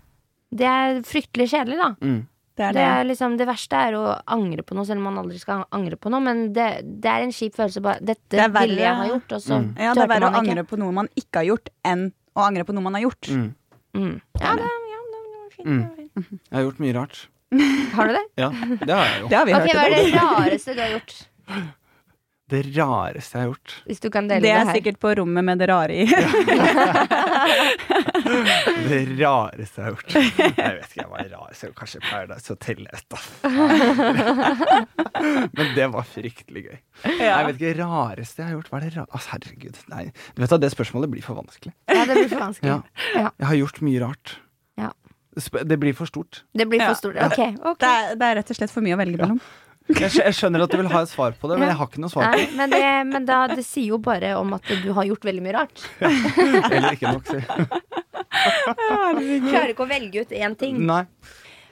Speaker 3: Det er fryktelig kjedelig, da.
Speaker 2: Det er
Speaker 3: Det,
Speaker 2: det.
Speaker 3: er liksom, det verste er å angre på noe, selv om man aldri skal angre på noe. Men det, det er en kjip følelse. Bare, dette
Speaker 2: Det er verre-
Speaker 3: ville jeg ha gjort, og så
Speaker 4: Mm.
Speaker 2: Ja, det er verre å
Speaker 3: man
Speaker 2: angre på noe man ikke har gjort, enn å angre på noe man har gjort.
Speaker 4: Mm.
Speaker 3: Mm. Ja, det, ja, det var
Speaker 2: Mm.
Speaker 3: fint. det var fint.
Speaker 4: Jeg har gjort mye rart.
Speaker 3: Har du det?
Speaker 4: Ja, det har jeg jo.
Speaker 2: Det har vi
Speaker 3: Ok, Hva
Speaker 2: hørt i
Speaker 3: er
Speaker 2: dag.
Speaker 3: det rareste du har gjort?
Speaker 4: Det rareste jeg har gjort.
Speaker 3: Hvis du kan dele
Speaker 2: Det
Speaker 3: det,
Speaker 2: er
Speaker 3: her.
Speaker 2: sikkert på rommet med det rare i.
Speaker 4: Det rareste jeg har gjort. Jeg vet ikke, jeg var rar, så kanskje Paradise Hotel et, da. Men det var fryktelig gøy. Jeg vet ikke, rareste jeg har gjort, hva er det ra... Altså, herregud. Nei, du vet at det spørsmålet blir for vanskelig.
Speaker 3: Ja, det blir for vanskelig.
Speaker 4: Ja. Jeg har gjort mye rart.
Speaker 3: Ja.
Speaker 4: Sp- Det blir for stort.
Speaker 3: Det blir
Speaker 2: Ja.
Speaker 3: for stort. Ok, ok.
Speaker 2: Det er, det er rett og slett for mye å velge mellom.
Speaker 4: Jeg, skj- jeg skjønner at du vil ha et svar på det, men jeg har ikke noe svar på
Speaker 3: Nei, men det, men da, det sier jo bare om at du har gjort veldig mye rart.
Speaker 4: det. Eller ikke nok, sier
Speaker 3: Klarer ikke å velge ut én ting.
Speaker 4: Nei.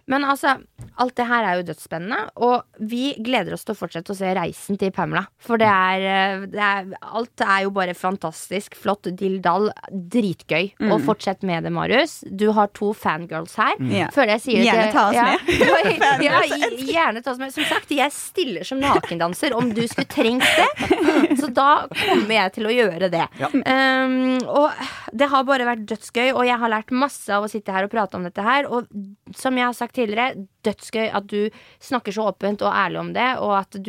Speaker 3: Men altså, alt det her er jo dødsspennende, og vi gleder oss til å fortsette å se reisen til Pamela. For det er, eh, det er Alt er jo bare fantastisk flott. Dill-dall. Dritgøy. Og fortsett med det, Marius. Du har to fangirls her.
Speaker 2: Ja.
Speaker 3: Føler jeg sier
Speaker 2: Gjerne
Speaker 3: det-
Speaker 2: ta oss
Speaker 3: ja.
Speaker 2: med. altså.
Speaker 3: Ja, ja, gjerne ta oss med. Som sagt, jeg stiller som nakendanser om du skulle trengt det. Så da kommer jeg til å gjøre det.
Speaker 4: Ja.
Speaker 3: Um, og det har bare vært dødsgøy, og jeg har lært masse av å sitte her og prate om dette her. Og som jeg har sagt tidligere, dødsgøy at du snakker så åpent og ærlig om det, og at du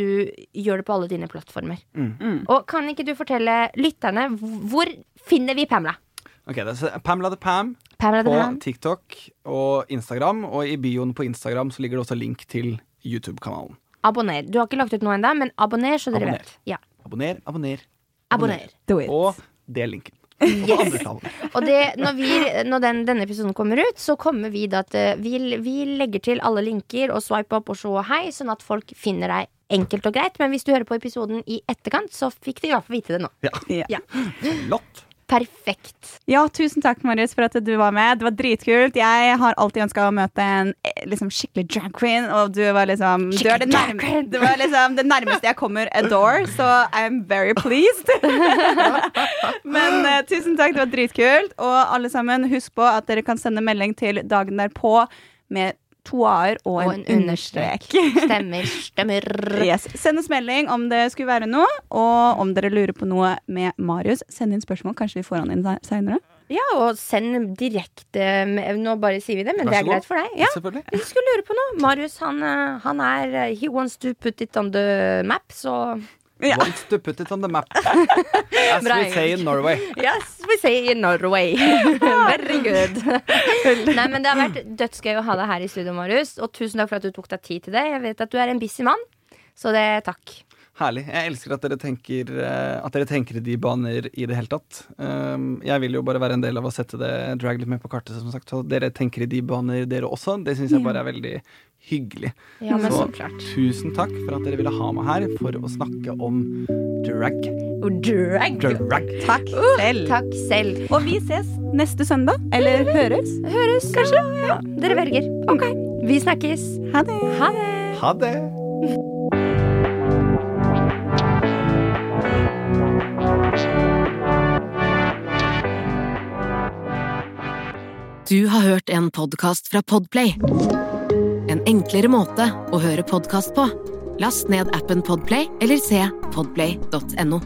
Speaker 3: gjør det på alle dine plattformer.
Speaker 4: Mm.
Speaker 2: Mm.
Speaker 3: Og kan ikke du fortelle lytterne hvor finner vi Pamela?
Speaker 4: Ok, det er så Pamela the Pam
Speaker 3: Pamela
Speaker 4: på
Speaker 3: the Ham.
Speaker 4: TikTok og Instagram, og i bioen på Instagram så ligger det også link til YouTube-kanalen.
Speaker 3: Abonner. Du har ikke lagt ut noe ennå, men abonner, så dere
Speaker 4: Abonner.
Speaker 3: vet. Ja.
Speaker 4: Abonner, abonner,
Speaker 3: Abonner.
Speaker 2: Do it.
Speaker 4: og del linken. Og andre kanaler.
Speaker 3: Og det, når, vi, når den, denne episoden kommer ut, så kommer vi da til vi, vi legger til alle linker og swipe opp og se og hei, sånn at folk finner deg enkelt og greit. Men hvis du hører på episoden i etterkant, så fikk de i hvert fall vite det nå.
Speaker 2: Ja.
Speaker 4: Lott.
Speaker 3: Perfekt.
Speaker 2: Ja, tusen takk, Marius, for at du var med. Det var dritkult. Jeg har alltid ønska å møte en eh, liksom, skikkelig drag queen, og du var liksom du er det,
Speaker 3: Skikkelig drag
Speaker 2: nærme,
Speaker 3: queen.
Speaker 2: det var liksom det nærmeste jeg kommer a door, så I'm very pleased. Men eh, tusen takk, det var dritkult. Og alle sammen, husk på at dere kan sende melding til dagen derpå med to a-er og, en, understrek.
Speaker 3: Stemmer, stemmer.
Speaker 2: Yes. Send oss melding om det skulle være noe, og om dere lurer på noe med Marius. Send inn spørsmål, kanskje vi får han inn seinere.
Speaker 3: Ja, og send direkte med- Nå bare sier vi det, men det
Speaker 4: Vær så
Speaker 3: er
Speaker 4: god.
Speaker 3: greit for deg. Ja.
Speaker 4: Selvfølgelig.
Speaker 3: Hvis du skulle lure på noe Marius, han, eh, han er eh, He wants to put it on the map, så
Speaker 2: Ja.
Speaker 4: Once to put it on the map. As
Speaker 3: Bra
Speaker 4: we say in Norway.
Speaker 3: Yes, we say in Norway. Very good. Nei, men Det har vært dødsgøy å ha deg her i studio, Marius. Og tusen takk for at du tok deg tid til det. Jeg vet at du er en busy mann, så det takk.
Speaker 4: Herlig. Jeg elsker at dere tenker eh, At dere tenker i de baner i det hele tatt. Um, jeg vil jo bare være en del av å sette det drag litt mer på kartet, som sagt. Så dere tenker i de baner, dere også. Det syns jeg bare er veldig hyggelig.
Speaker 3: Ja, men
Speaker 4: Så
Speaker 3: så klart.
Speaker 4: tusen takk for at dere ville ha meg her for å snakke om drag.
Speaker 3: Og Drag.
Speaker 4: Drag.
Speaker 2: Takk selv.
Speaker 3: Takk selv.
Speaker 2: Og vi ses neste søndag. Eller høres.
Speaker 3: Høres, kanskje. Ja, dere velger. Ok. Vi snakkes.
Speaker 2: Ha det.
Speaker 3: Ha det.
Speaker 4: Ha det!
Speaker 1: Du har hørt en podcast fra Podplay. En enklere måte å høre podcast på. Last ned appen Podplay eller se podplay.no.